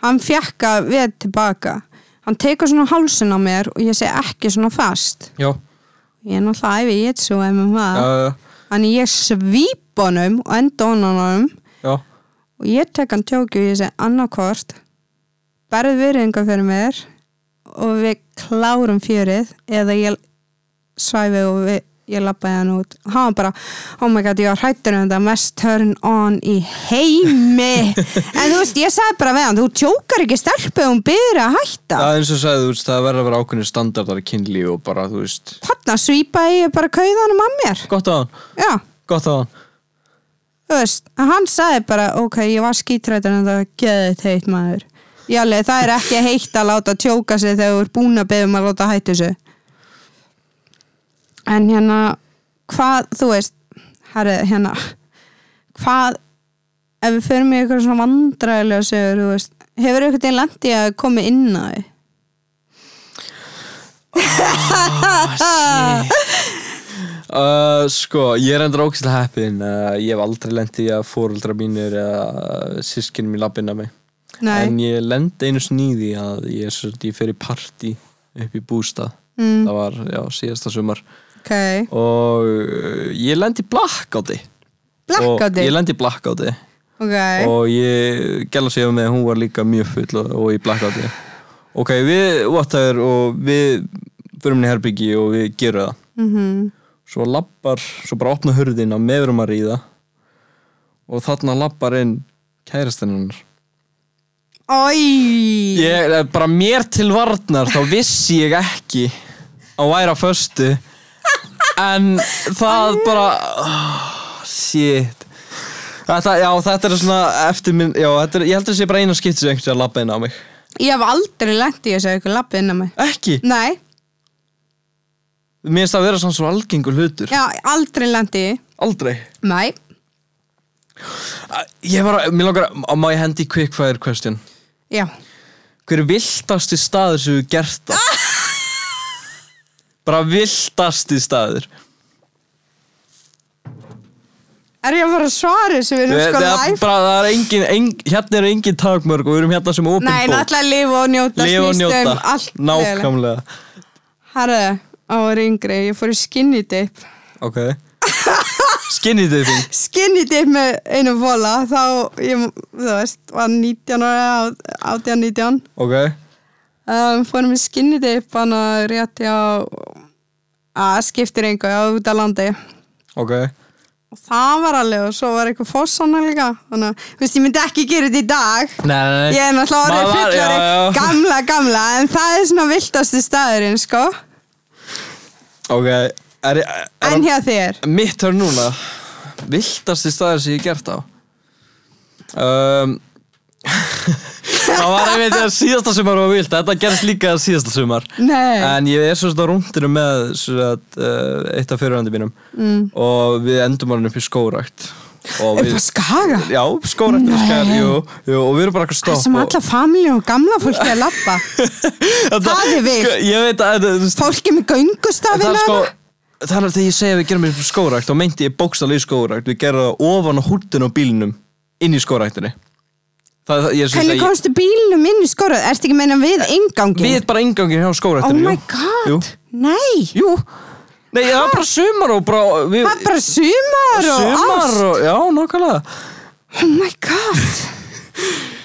Speaker 1: Hann fjekk að við tilbaka. Hann tekur svona hálsun á mér og ég segi ekki svona fast.
Speaker 2: já,
Speaker 1: Ég er náttúrulega æfi jitsu og MMA.
Speaker 2: uh,
Speaker 1: Þannig ég svýp honum og enda honum honum
Speaker 2: já
Speaker 1: og ég tek hann tjóki og ég segi annarkort, berð virðinga fyrir mér og við klárum fjörið eða ég svæfi og við, ég lappaði hann út og hann var bara, oh my god, ég var hrættur um þetta mest turn on í heimi en þú veist, ég sagði bara við hann þú tjókar ekki stelpu og hún byrja að hætta
Speaker 2: það er eins og sagði, þú veist, það verður að vera ákveðin standardar í kynlífi og bara, þú veist
Speaker 1: þarna svípaði ég bara kauðanum að mér
Speaker 2: gott á hann
Speaker 1: já,
Speaker 2: gott á hann
Speaker 1: þú veist, hann sagði bara ok, ég var skítrættur en það var geðið heitt maður Jálli, það er ekki heitt að láta tjóka sig þegar þú er búin að beða um að láta hættu sig en hérna hvað, þú veist herri, hérna hvað, ef við förum í eitthvað svona vandræðilega sögur, þú veist hefur eitthvað til landi að koma inn á því
Speaker 2: Uh, sko, ég er endur ógæslega heppin uh, Ég hef aldrei lendið í að fóruldra mínir eða sískinn mín lappin að mig
Speaker 1: Nei.
Speaker 2: En ég lendi einu sníði að ég, er svolítið- ég fer í partí upp í bústað
Speaker 1: Mm.
Speaker 2: Það var, já, síðasta sumar
Speaker 1: ok,
Speaker 2: Og uh, ég lendi í blackouti
Speaker 1: blackouti
Speaker 2: Og Ég lendi í blackouti
Speaker 1: ok,
Speaker 2: Og ég gæla sig með að hún var líka mjög full og, og í blackouti Ok, við vottaður og við förum inn í herbyggi og við gerum það
Speaker 1: mhm,
Speaker 2: svo lappar, svo bara opna hurðin á meðrum að ríða og þarna lappar inn kærastinn hennar
Speaker 1: oi
Speaker 2: ég, eh, bara mér til varnar þá vissi ég ekki að væra föstu en það bara oh, shit þetta, já, þetta er svona eftir minn, já, þetta er, ég heldur þessi bara eina skipti sem einhvers að lappa inn á mig
Speaker 1: Ég hef aldrei lent í þessu að ykkur lappi inn á mig.
Speaker 2: ekki,
Speaker 1: Nei,
Speaker 2: mér finnst það að vera svona svo algengur hlutur,
Speaker 1: já, aldrei lent í. því.
Speaker 2: aldrei
Speaker 1: Nei,
Speaker 2: Eh, ég bara, mér langar, að- má ég hendi í quickfire question
Speaker 1: já.
Speaker 2: hver er viltasti staður sem við gert það bara viltasti staður
Speaker 1: Er ég að fara að svara þessu við erum
Speaker 2: Við-
Speaker 1: sko
Speaker 2: það er
Speaker 1: live?
Speaker 2: bara, það er engin, en, hérna eru engin takmörg og við erum hérna sem opin
Speaker 1: Nei,
Speaker 2: bók
Speaker 1: náttúrulega lifa og njóta,
Speaker 2: lifa og
Speaker 1: snýst
Speaker 2: njóta,
Speaker 1: um allt. mögulegt.
Speaker 2: nákvæmlega
Speaker 1: Herðu, á var yngri, ég fór í skinny dip.
Speaker 2: ok skinny dipping
Speaker 1: Skinny dip með einu vola, þá, ég, þú veist, var 19 ára, 18-19.
Speaker 2: ok,
Speaker 1: Um, fórum í skinny dip, hann að rétti á, að skiptir engu, á út á landi.
Speaker 2: ok
Speaker 1: og það var alveg og svo var eitthvað fórsana líka þannig að, þú veist, ég myndi ekki gera þetta í dag
Speaker 2: nei, nei, nei.
Speaker 1: ég er náttúrulega orðið
Speaker 2: Maður var- já, já.
Speaker 1: fullari gamla, gamla, en það er svona viltasti staðurinn, sko
Speaker 2: ok, er, er, er
Speaker 1: en hjá þér,
Speaker 2: mitt hör núna viltasti staður sem ég hef gert á um, það var einmitt þegar síðasta sumar var vilt þetta gerst líka síðasta sumar
Speaker 1: nei
Speaker 2: en ég er svo svona rúndinu með svona, uh, eitt af fyrirhandi mínum mm. og við endum hann upp í skórakt og
Speaker 1: upp á skaga,
Speaker 2: já, sko. skórakt er skær, jú, jú, og við erum bara eitthvað
Speaker 1: það
Speaker 2: stopp
Speaker 1: sem
Speaker 2: og-
Speaker 1: alla familja og gamla fólki er að labba
Speaker 2: Þetta-
Speaker 1: það er villt.
Speaker 2: sko, ég veit að þetta- þú veist,
Speaker 1: fólki með
Speaker 2: það
Speaker 1: göngustafina
Speaker 2: er sko þannig að þegar ég segja að við gerum upp í skórakt þá meinti ég bókstala í skórakt við gerum það ofan á húttinu á bílnum inn í skóraktinni það, það, ég,
Speaker 1: hvernig
Speaker 2: ég,
Speaker 1: komstu bílnum inn í skoruð ertu ekki að meina við ingangin
Speaker 2: við bara ingangin hjá
Speaker 1: oh
Speaker 2: skóraktinu
Speaker 1: my god,
Speaker 2: jú.
Speaker 1: nei
Speaker 2: jú Nei, það var bara sumar og bara við,
Speaker 1: það er bara sumar og ást
Speaker 2: Sumar og, já, nákvæmlega
Speaker 1: Oh my god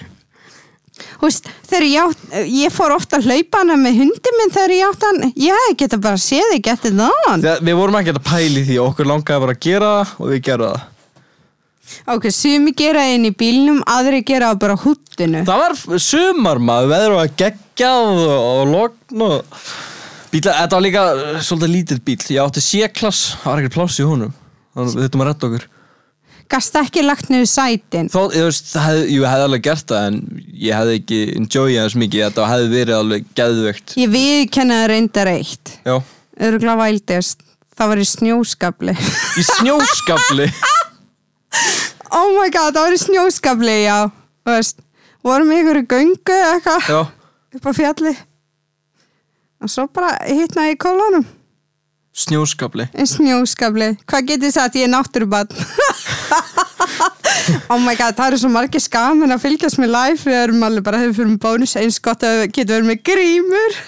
Speaker 1: Þú veist, þegar ég átt ég fór ofta að hlaupa hana með hundi minn þegar ég átt hann, ég geta bara séð þig getið náðan.
Speaker 2: Þegar, Við vorum ekki að pæli því okkur langaði bara að gera það og við gerða það
Speaker 1: Ok, sumi gera það inn í bílnum aðri gera það bara á húttinu
Speaker 2: Það var sumar maður, veður var geggjað og, og lokn og bíla, Þetta var líka uh, svolítið lítill bíl Ég átti C-klass, það var ekkert pláss í honum Þannig við þurftum að redda okkur
Speaker 1: Gast ekki lagt niður sætin
Speaker 2: Þó, ég veist, það hef, jú, ég hefði alveg gert það en ég hefði ekki enjoyað þess mikið Þetta hefði verið alveg geðvögt
Speaker 1: Ég viðkenni það reyndar eitt
Speaker 2: Já,
Speaker 1: Örgla vældist Það var í snjóskabli
Speaker 2: í snjóskafli
Speaker 1: Oh my god, það var í snjóskabli, já Þú veist, vorum í ykkur göngu eða eitthvað
Speaker 2: Já,
Speaker 1: upp á fjalli og svo bara hittna í kolónum
Speaker 2: snjóskafli
Speaker 1: En snjóskafli, hvað getið þið sagt, ég er náttúrubann Oh my god, það eru svo margir skamin að fylgjast með live Við erum alveg bara, hefur fyrir með bónus eins gott að við getum verið með grímur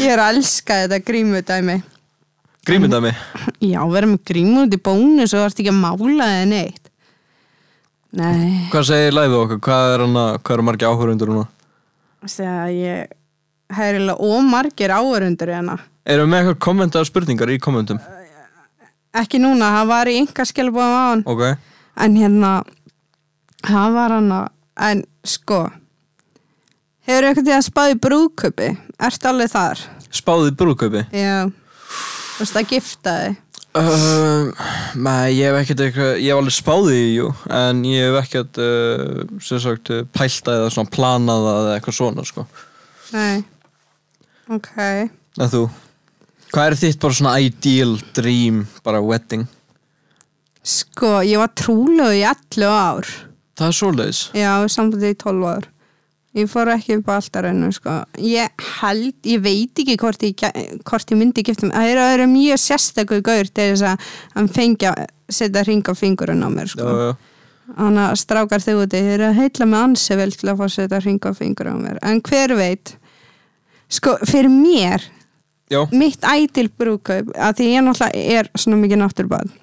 Speaker 1: Ég er að elska þetta grímu dæmi
Speaker 2: Grímyndami
Speaker 1: Já, verið með grímu út í bónus og þú ert ekki að mála eða neitt Nei,
Speaker 2: Hvað segir læfið okkur? Hvað er hana, hvað eru margir áhörundur núna?
Speaker 1: þegar ég Það er eiginlega ómargir áörundur hérna
Speaker 2: Erum við með eitthvað kommentaðar spurningar í kommentum?
Speaker 1: Ekki núna, það var í yngar skilbúðum á hann
Speaker 2: Ok,
Speaker 1: En hérna, það var hann að, en sko, hefur eitthvað til að spáði brúðköpi? Ertu alveg þar?
Speaker 2: spáðið brúðkaupi
Speaker 1: Já, þú veist að gifta þig.
Speaker 2: Um, nei, ég hef ekkert eitthvað, ég hef alveg spáðið í, jú, en ég hef ekkert, uh, sem sagt, uh, pælt að eða svona planað að eða eitthvað svona, sko.
Speaker 1: Nei. Ok.
Speaker 2: En þú, hvað er þitt bara svona ideal dream, bara wedding?
Speaker 1: Sko, ég var trúlegu í 11 ár.
Speaker 2: Það er svoleiðis.
Speaker 1: Já, sambandið í 12 ár. Ég fór ekki upp á alltarennu, sko. Ég held, ég veit ekki hvort ég, gæ- hvort ég myndi gifta mig. Það eru- það eru mjög sérstakur gaur til þess að hann fengi að setja hring á fingurinn á mér,
Speaker 2: Já,
Speaker 1: sko.
Speaker 2: já.
Speaker 1: Þannig að strákar þau úti, þeir eru að heilla með ansi vel til að fá að setja hring á fingurinn á mér. En hver veit? Sko, fyrir mér,
Speaker 2: Já,
Speaker 1: mitt ætil brúkaup að því ég náttúrulega er svona mikið náttúrbad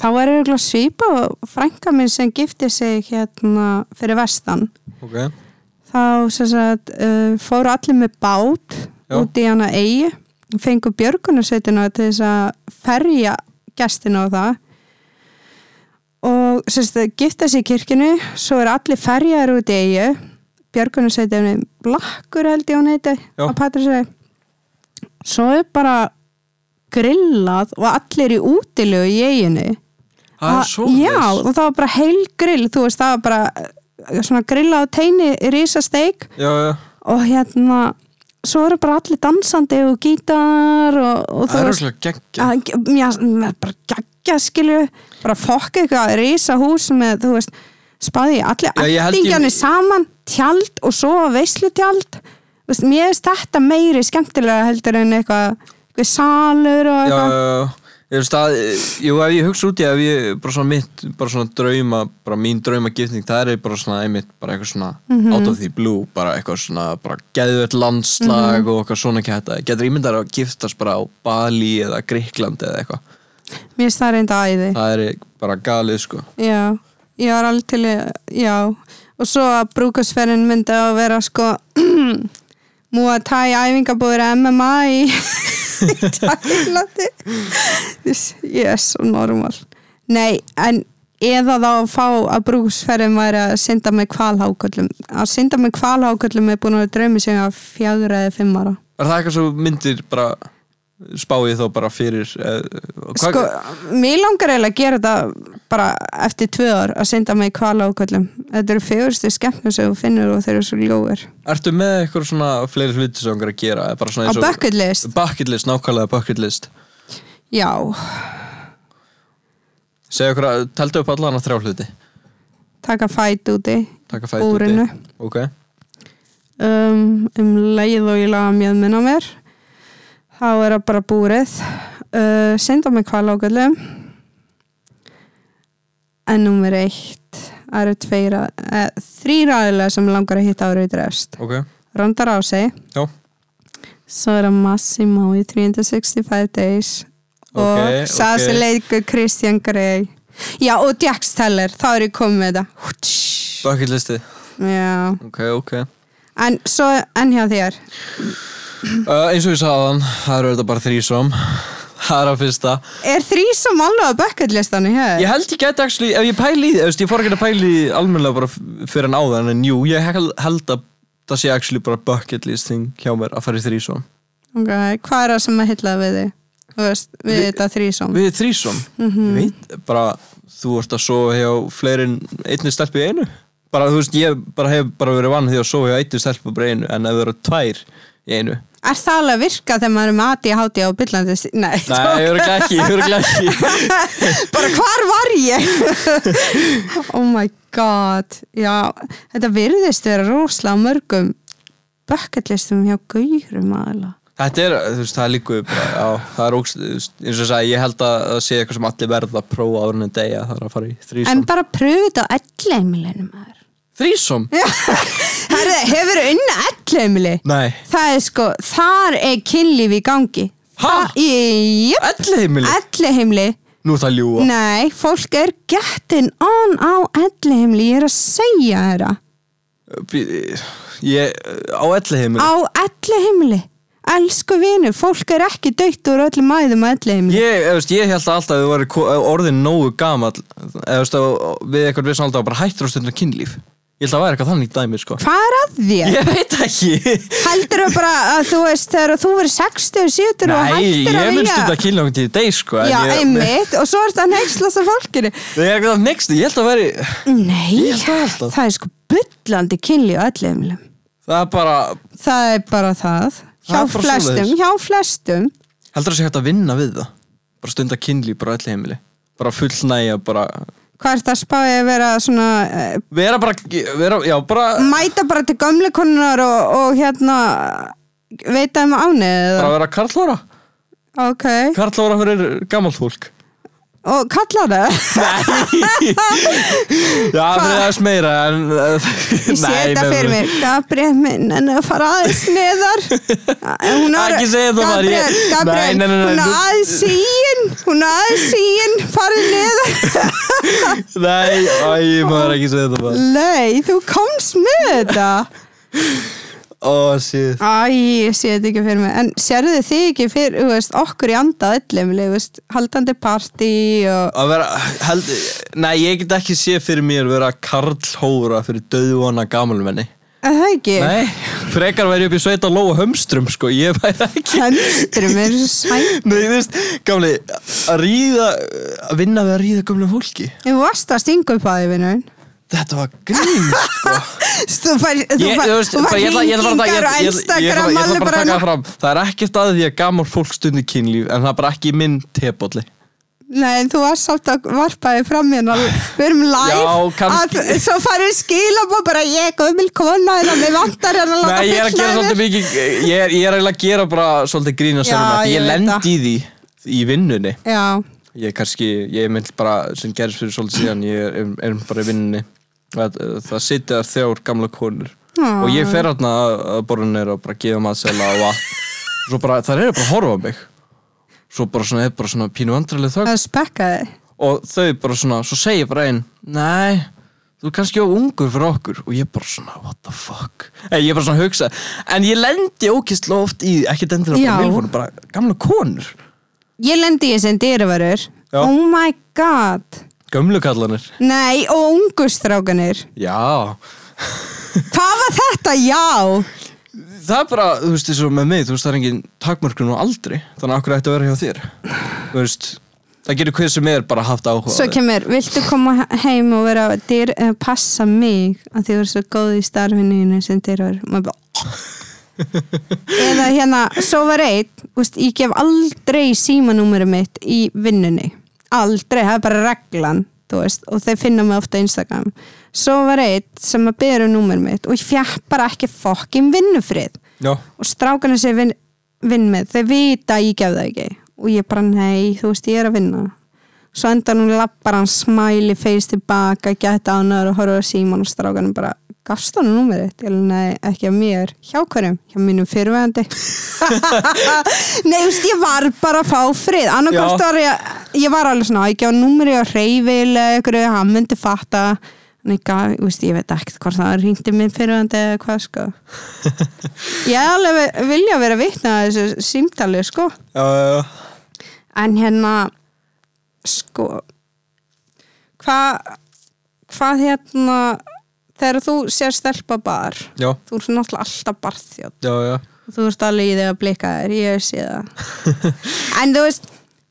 Speaker 1: þá er auðvitað svipa og frænka minn sem gifti sig hérna fyrir vestan
Speaker 2: ok.
Speaker 1: þá sem sagt uh, fóru allir með bát
Speaker 2: Já.
Speaker 1: út í hana eigi fengu björgunarsveitina til þess að ferja gestina á það og sem sagt gifta sig í kirkinu svo er allir ferjaðar út í eigi björgunarsveitina blakkur held ég hún heiti
Speaker 2: Já.
Speaker 1: á Patrísveg svo er bara grillað og allir í útilegu í eiginu
Speaker 2: Það er svoleiðis.
Speaker 1: Já, og það var bara heil grill þú veist, það var bara eh, svona grilla á teini, risasteik
Speaker 2: Já, já.
Speaker 1: og hérna, svo eru bara allir dansandi og gítar og, og
Speaker 2: Það er alltaf geggja.
Speaker 1: að, mér, mér bara geggja skilju bara fokk eitthvað risahús með, þú veist, spaði allir
Speaker 2: Já, ég held ég-
Speaker 1: ættingjarnir saman tjald og svo veislutjald Þú veist, mér finnst þetta meiri skemmtilega heldur en eitthvað, eitthvað salur og
Speaker 2: Já, já,
Speaker 1: eitthvað
Speaker 2: já. Ég veist að, jú, ef ég hugsa út í að ég, bara svona mitt, bara svona drauma, bara mín draumagifning, það er bara svona einmitt, bara eitthvað svona
Speaker 1: Mhm.
Speaker 2: out of the blue, bara eitthvað svona, bara geðvett landslag
Speaker 1: Mhm.
Speaker 2: og eitthvað svona kæta. Getur ímyndar að giftast bara á Bali eða Gríklandi eða eitthvað.
Speaker 1: mér finnst það reynda æði
Speaker 2: Það er bara galið, sko.
Speaker 1: Já, ég var alveg til í- já, og svo að brúkasferðin myndi að vera sko múa tæ æfingabúður MMA í Tælandi ég er svo normal nei, en eða þá að fá að brúkasferðin væri að synda með kvalháköllum að synda með kvalháköllum er búin að vera draumi sem að fjagra eða fimm ára
Speaker 2: Er það eitthvað sem þú myndir bara spáið þá bara fyrir, eh, hvað,
Speaker 1: sko, mér langar eiginlega að gera þetta bara eftir tvö ár að synda mig í kvala ákvöldum þetta eru fegurstu skemmtnum sem þú finnur og þeir eru svo ljóður
Speaker 2: ertu með eitthvað svona fleiri hluti sem þú langar að gera? eða Bara svona
Speaker 1: á
Speaker 2: eins og...
Speaker 1: bucket list,
Speaker 2: Bucket list, nákvæmlega bucket list.
Speaker 1: já
Speaker 2: Segðu okkur að, teldu upp allan að þrjá hluti
Speaker 1: taka fæt úti
Speaker 2: Taka fæti
Speaker 1: Búrinu.
Speaker 2: úti Ok,
Speaker 1: um, um leið og ég laga mjög minna mér þá er það bara búrið uh, synda mig í kvala ákvöldum en nummer eitt það eru tveira, eh, þrýra aðilega sem langar að hitta árið drefst
Speaker 2: ok,
Speaker 1: Rondar á sig
Speaker 2: já
Speaker 1: Svo er það Massimo í 365 Days og
Speaker 2: Ok,
Speaker 1: okay, Sassi
Speaker 2: ok.
Speaker 1: okay. leikur Christian Grey Já, og Jax Teller, þá er ég komið með þetta Hútsch.
Speaker 2: Bucket listi,
Speaker 1: Já,
Speaker 2: ok, ok
Speaker 1: en svo enn hjá þér
Speaker 2: uh, Eins og ég sagðan, það eru þetta bara þrísom Það er að fyrsta
Speaker 1: Er þrísom alveg að bucket listanum hjá þér?
Speaker 2: Ég held ég get actually, ef ég pæli í því þú veist, Ég fór ekki að pæli í því almennilega bara f- fyrir en áðan En jú, ég hel- held að það sé actually bara bucket listing hjá mér að fara í þrísom
Speaker 1: Ok, hvað er það sem að hylla við þig? Þú veist, við,
Speaker 2: Við-
Speaker 1: þetta þrísom
Speaker 2: Við þrísom, ég veit bara Þú ert að sofa hjá fleirin einni stelpu í einu Bara, þú veist, ég bara hef bara verið vann því að sofa hjá einni stelpu bara í einu En ef það eru tvær í einu
Speaker 1: Er það alveg að virka þegar maður er með aði, háti og byllandi? Nei,
Speaker 2: Nei, öruglega ekki, öruglega ekki
Speaker 1: bara hvar var ég oh my god já, þetta virðist vera rosalega mörgum bucketlistum hjá gaurum aðla
Speaker 2: Þetta er, þú veist, það er líku á, það er ógst, þú veist, eins og ég sagði, ég held að það sé eitthvað sem allir verða að prófa áður en að deyja það er að fara í þrísom
Speaker 1: en bara pröfu þetta á ellheimilinu maður
Speaker 2: Þrísom?
Speaker 1: Herði, hefur unna ellheimili
Speaker 2: Nei
Speaker 1: það er sko, þar er kynlíf í gangi
Speaker 2: Ha?
Speaker 1: Ah. jöp,
Speaker 2: Elli heimili?
Speaker 1: ellheimili
Speaker 2: Nú er það að ljúga
Speaker 1: nei, fólk er gettin on á ellheimili, ég er að segja þeirra
Speaker 2: Bí- Ég, á elli heimili
Speaker 1: á elli heimili elsku vinu, fólk er ekki dött úr öllum æðum á elli heimili
Speaker 2: Ég, þú veist, ég held alltaf að þú væri ko- orðin nógu gamall eða, þú veist, að- við eitthvað við sem alltaf bara hættur á stundum kynlíf Ég held að það væri eitthvað þannig dæmi sko
Speaker 1: Hvað er að þér?
Speaker 2: Ég veit ekki
Speaker 1: Heldur þau bara að þú veist þegar þú verið 60 og 70 og
Speaker 2: Nei,
Speaker 1: hættir að
Speaker 2: ég mun
Speaker 1: vilja-
Speaker 2: stund að kynna okkur til í deg sko en
Speaker 1: Já,
Speaker 2: ég,
Speaker 1: einmitt, og svo ertu að nexlasa fólkinu
Speaker 2: Ég er eitthvað next, ég held að væri
Speaker 1: Nei,
Speaker 2: Ég held alltaf.
Speaker 1: það er sko byllandi kynli á öll heimilum
Speaker 2: Það er bara,
Speaker 1: Það er bara það Hjá
Speaker 2: Það er bara
Speaker 1: flestum,
Speaker 2: svoleiðis.
Speaker 1: hjá flestum
Speaker 2: heldur það sé hægt að vinna við það Bara stunda kynli, bara öll heimili Bara fullnægja, bara
Speaker 1: Hvað er það að spáði að vera svona eh,
Speaker 2: Vera bara, vera, já, bara
Speaker 1: Mæta bara til gömlu konunar og, og hérna Veita um ánið
Speaker 2: Bara vera karlóra
Speaker 1: Ok,
Speaker 2: Karlóra fyrir gamalt fólk
Speaker 1: og kallar það
Speaker 2: Já, það er aðeins meira en
Speaker 1: Ég sé þetta fyrir mér, Gabriel minn en að fara aðeins neðar Hún var-
Speaker 2: Ekki segja það bara, ég-
Speaker 1: Gabriel, Gabriel,
Speaker 2: Nei, nei, nei, nei,
Speaker 1: hún er
Speaker 2: þú-
Speaker 1: aðeins síinn Hún er aðeins síinn, farið neðar
Speaker 2: Nei, æ, maður ekki segja þetta bara
Speaker 1: Nei, þú komst með þetta
Speaker 2: Ó, shit
Speaker 1: Æ, ég sé þetta ekki fyrir mig En sérðu þið ekki fyrir, þú veist, okkur í andað öllum, þú veist, haldandi partí og
Speaker 2: Að vera, held, nei, ég get ekki sé fyrir mér vera karlhóra fyrir döðvona gamulmenni
Speaker 1: Er það ekki
Speaker 2: Nei, frekar væri upp í sveita lóa hömstrum, sko, ég væri ekki
Speaker 1: Hömstrum er svo sætt
Speaker 2: Nei, þú veist, gamli, að ríða, að vinna við að ríða gamlu fólki
Speaker 1: Þú varst að stinga upp að því vinnun
Speaker 2: Þetta var grín, sko
Speaker 1: Þú fær, þú
Speaker 2: Ég-
Speaker 1: fær,
Speaker 2: þú
Speaker 1: þú
Speaker 2: veist,
Speaker 1: fær
Speaker 2: bara ég ætla- ég ætla bara að-
Speaker 1: hringingar og
Speaker 2: ég- ég- ég- ég ætla bara-
Speaker 1: Instagram
Speaker 2: ég ætla
Speaker 1: alveg
Speaker 2: bara að
Speaker 1: bara
Speaker 2: taka það fram. Það er ekkert að því að gamar fólk stundir kynlíf en það er bara ekki í minn tebóli
Speaker 1: Nei, en þú varst samt að varpaði fram hérna Við erum live
Speaker 2: Já, kannski.
Speaker 1: að, Svo farið skilum og bara ég gömul kona en mig vantar hérna að láta
Speaker 2: Nei, ég er að gera
Speaker 1: fulla yfir.
Speaker 2: svolítið mikið Ég er, ég er eiginlega að gera bara svolítið grína
Speaker 1: Já,
Speaker 2: sjálfum mér, því
Speaker 1: ég
Speaker 2: Ég
Speaker 1: veit það.
Speaker 2: lendi í því í vinnunni
Speaker 1: Já,
Speaker 2: Ég er kannski, ég er mynd bara sem gerist fyrir svolítið síðan Ég er, er, er bara í vinnunni Það, það sitja þar þjár gamla konur
Speaker 1: Ó.
Speaker 2: Og ég fer hérna að borunir og bara gefa maður sela og vatn Svo bara, það eru bara að horfa á mig Svo bara svona, er bara svona pínu vandrarlega þögn
Speaker 1: það er spekkaði
Speaker 2: og þau bara svona, svo segir bara einn nei, þú er kannski of ungur fyrir okkur og ég bara svona, what the fuck en ég bara svona hugsa, en ég lendi ókistlega oft í, ekki dendilega
Speaker 1: Já.
Speaker 2: bara milfónu, bara gamla konur
Speaker 1: Ég lendi í þessi dýravarur
Speaker 2: Já.
Speaker 1: Oh my god
Speaker 2: gömlu kallanir,
Speaker 1: Nei, og ungustrákanir
Speaker 2: já
Speaker 1: Hvað var þetta? Já
Speaker 2: það er bara, þú veist, eins og með mig þú veist, það er engin takmörkun og aldri þannig að okkur ætti að vera hjá þér þú veist, það getur hver sem er bara haft áhuga á
Speaker 1: Svo
Speaker 2: þér.
Speaker 1: kemur, viltu koma heim og vera dyr, eh, passa mig að þið voru svo góð í starfinu sem dyrvar bara... "Oh." eða hérna, svo var eitt úst, ég gef aldrei símanúmeru mitt í vinnunni aldrei, það er bara reglan þú veist, og þeir finna mig ofta á Instagram svo var eitt sem að byrja um númer mitt og ég fjart bara ekki fokkin vinnufrið
Speaker 2: já,
Speaker 1: og strákarna sem ég vinn, vinn með þau vita að ég gef það ekki og ég bara nei, þú veist ég er að vinna svo endar hún lappar hann smæli feist tilbaka, geta ánæður og horfa á síman og strákarna bara gafst hann númerið, ég alveg nei, ekki að mér hjá hverjum, hjá mínum fyrirvæðandi nei, þú veist, ég var bara að fá frið, annarkvæmst
Speaker 2: Já.
Speaker 1: var ég, ég var alveg svona, ég gef hann númerið og reyfilega ykkur, hann myndi fatta en ég gaf, þú veist, ég veit ekkert hvort það ringdi minn fyrirvæðandi eða hvað sko Ég hef alveg ve- vilja vera vitna að þessu símtali, sko.
Speaker 2: já, já, já.
Speaker 1: En hérna, sko, hvað, hvað hérna, þegar þú sér stelpa bar,
Speaker 2: já,
Speaker 1: þú ert náttúrulega alltaf barþjótt.
Speaker 2: já, já.
Speaker 1: Þú ert alveg í því að blika þér, ég sé það. en þú veist,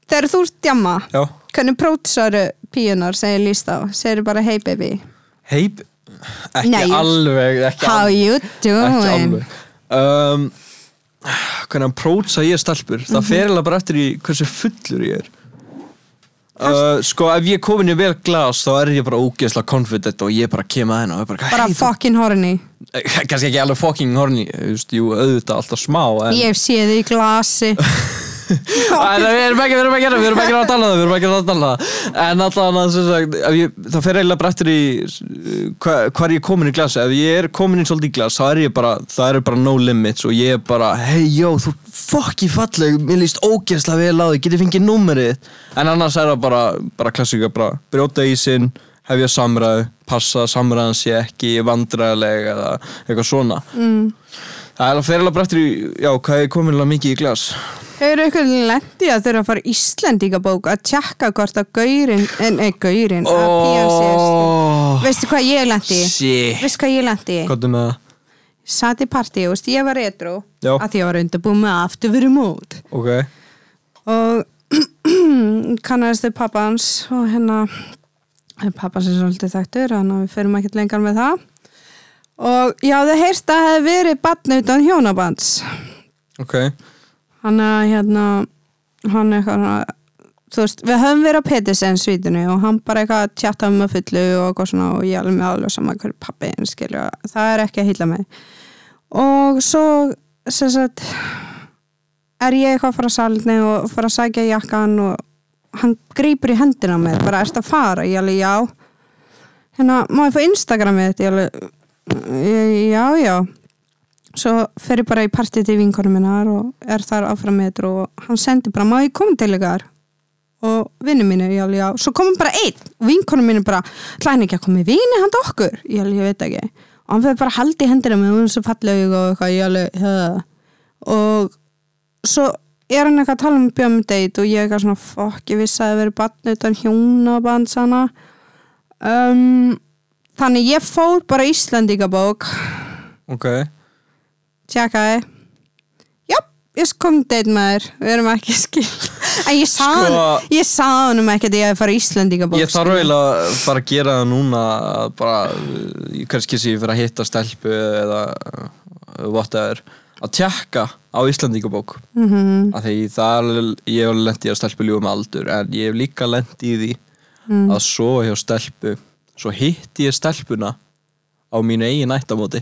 Speaker 1: þegar þú ert djamma,
Speaker 2: já.
Speaker 1: hvernig prótisaru píunar segir líst á, segir bara hey baby,
Speaker 2: heip, ekki
Speaker 1: Nei, ég-
Speaker 2: alveg ekki
Speaker 1: how
Speaker 2: alveg.
Speaker 1: you
Speaker 2: ekki
Speaker 1: doing?
Speaker 2: alveg um, hvernig approacha ég stelpur það fer eiginlega bara eftir í hversu fullur ég er Uh, sko ef ég er komin í vel glas þá er ég bara ógeðslega confident og ég bara kem að henn og ég bara,
Speaker 1: Bara
Speaker 2: hey, þú-
Speaker 1: fucking horny.
Speaker 2: Eh, kannski ekki alveg fucking horny þú veist, jú, auðvitað alltaf smá en,
Speaker 1: Ég hef séð þig í glasi.
Speaker 2: en við erum ekki, við erum ekki, við erum ekki að tala um það, við erum ekki að tala það en allan að sem sagt, ef ég, það fer eiginlega bara eftir í uh, hva, hvað er ég komin í glasa, ef ég er komin í svolítið í glas, þá er ég bara, það eru bara no limits og ég er bara, hei jó, þú ert fokki falleg, mér líst ógeðslega vel á þig, getið fengið númerið þitt?" en annars er það bara, bara klassika, bara brjóta í sinn, hefja samræðu passa að samræðan sé ekki vandræðileg eða eitthvað svona Það fer alveg bara eftir í, já, hvað er komin alveg mikið í glas
Speaker 1: Hefur ykkur lendi að þurfa að fara í Íslandíkabók að tjekka hvort að gaurin, en ei gaurin, að píansist.
Speaker 2: Oh,
Speaker 1: Veistu hvað ég lendi?
Speaker 2: shit
Speaker 1: Veistu hvað ég lendi?
Speaker 2: Hvað er með það?
Speaker 1: Satt í partíu, veist, ég var retro,
Speaker 2: Já.
Speaker 1: að því ég var undirbúið með aftur verið mót.
Speaker 2: Ok
Speaker 1: Og kannast þau pappans og hérna, pappans er svolítið þekktur, þannig að við förum ekkert lengar með það. Og já, þau heyrst að það hefði verið batn utan hjónabands.
Speaker 2: Ok
Speaker 1: hann er hérna hann er eitthvað þú veist, við höfum verið á Petersen svítinu og hann bara eitthvað tjatta um að fullu og eitthvað svona og ég er alveg með alveg saman hverju pappi en skilju, það er ekki að hýlla mig og svo sem sagt er ég eitthvað að fara að salni og fara að sækja jakkan og hann grýpur í hendina á mér, bara erst að fara ég alveg já hérna, má ég fá Instagramið þetta ég alveg, já, já svo fer ég bara í partí til vinkonum minnar og er þar áfram með þetta og hann sendi bara, má ég koma til ykkar og vinnu mínu, ég alveg, já svo komum bara einn og vinkonum mínu bara hlæn ekki að koma í vini handa okkur ég alveg, ég veit ekki og hann fyrir bara að halda í hendina með hún svo falleg og eitthvað, ég alveg, höða og svo er hann eitthvað að tala um bjöðum date og ég eitthvað svona, fokk, ég vissi að það verið barn utan hjónaband sana um, þannig ég fór bara í Íslandíkabók
Speaker 2: Ok
Speaker 1: tjekkaði já, ég kom deitt með þér við erum ekki skil en ég sagði
Speaker 2: Sko-
Speaker 1: honum- ég sagði honum ekki að ég hefði farið í Íslandingabók
Speaker 2: Ég þarf eiginlega að fara að gera það núna að bara, uh, kannski sé ég fyrir að hitta stelpu eða uh, whatever að tjekka á Íslandingabók mm -hmm. að því það er alveg- ég hef alveg lent í að stelpu ljúum aldur en ég hef líka lent í því að sofa hjá stelpu svo hitti ég stelpuna á mínu eigin nættamóti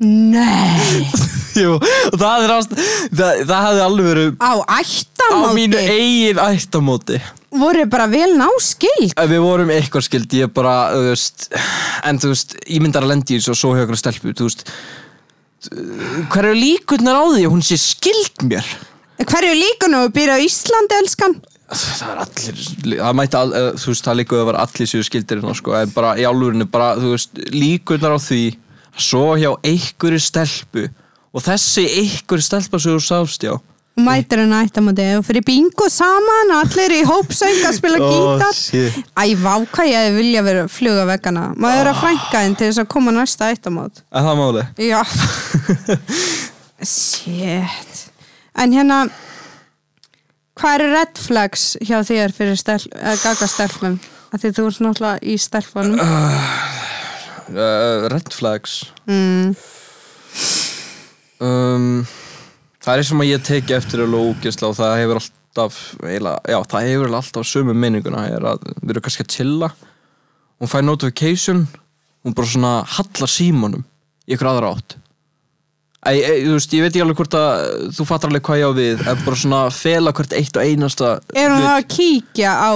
Speaker 1: nei,
Speaker 2: Jú, og það er ást það, það hefði alveg verið
Speaker 1: á
Speaker 2: á
Speaker 1: ættamóti
Speaker 2: mínu eigin ættamóti
Speaker 1: voru bara vel náskild
Speaker 2: Ef Við vorum eitthvað skild, ég bara, þú veist, en þú veist, ég myndar að lendi í þessu og svo hjá okkur stelpu, þú veist, hver eru líkurnar á því að hún sé skild mér?
Speaker 1: hverju líka nú, býr á Íslandi elskan
Speaker 2: Það er allir, það mætti, all, eh, þú veist, það líkuð að vera allir séu skildirinn og sko, en bara í álurinu, bara, þú veist, líkurnar á því að svo hjá einhverju stelpu og þessi einhverju stelpa sem þú sást hjá.
Speaker 1: og mætir hann ættamóti og fyrir bingo saman allir í hópsöng að spila
Speaker 2: Ó,
Speaker 1: gítar
Speaker 2: Oh, shit.
Speaker 1: æ, vá, hvað ég hefði vilja vera fluga veggana maður er að frænka þinn til þess að koma næsta ættamót
Speaker 2: Er það máli?
Speaker 1: Já Shit En hérna Hvað eru red flags hjá þér fyrir stel, uh, gaga stelpum? Af því þú ert náttúrulega í stelpunum
Speaker 2: Uh, red flags.
Speaker 1: mm.
Speaker 2: um, Það er sem að ég teki eftir alveg ógisla og það hefur alltaf eila, já, það hefur eiginlega alltaf sömu meininguna er að við erum kannski að chilla hún fær notification hún bara svona hallar símanum í ykkur aðra átt Æ, e, þú veist, ég veit ekki alveg hvort að þú fattar alveg hvað ég á við en bara svona fela hvert eitt og einasta
Speaker 1: Er hún
Speaker 2: hlut.
Speaker 1: að kíkja á,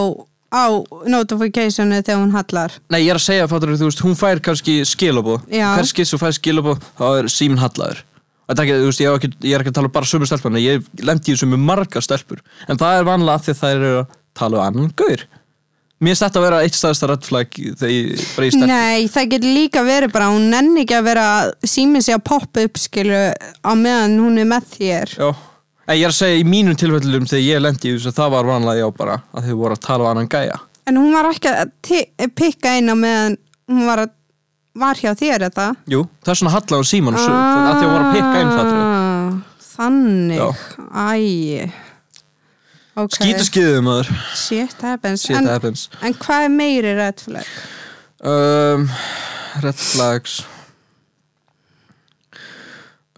Speaker 1: á notificationu þegar hún hallar?
Speaker 2: Nei, ég er að segja, fattur þú veist, hún fær kannski skilabóð
Speaker 1: Já.
Speaker 2: Hver skiss og fær skilabóð, þá er síminn hallaður Þetta er ekki, þú veist, ég, hef ekki, ég er ekki að tala bara sömu stelpana Ég lendi í þessu með marga stelpur En það er vanlega af því að þær eru að tala um annan gaur Mér stætt að vera eitt staðasta red flag þegar ég bara í stelpur
Speaker 1: Nei, það getur líka verið bara hún nenni ekki að vera símið sig að poppa upp skilu á meðan hún er með þér
Speaker 2: Já En ég er að segja í mínum tilfellum þegar ég lendi í þessu Það var vanlega já bara að þau voru að tala um annan gæja
Speaker 1: En hún var ekki að ti- pikka inn á meðan hún var, að, var hjá þér þetta?
Speaker 2: Jú, það er svona hallaður símanum svo,
Speaker 1: Ah.
Speaker 2: að þau voru að pikka inn fattur
Speaker 1: Þannig,
Speaker 2: Já.
Speaker 1: æ Ok,
Speaker 2: Skítu skiðum maður
Speaker 1: shit happens
Speaker 2: Shit
Speaker 1: en,
Speaker 2: happens
Speaker 1: en hvað er meiri red flag?
Speaker 2: um, Red flags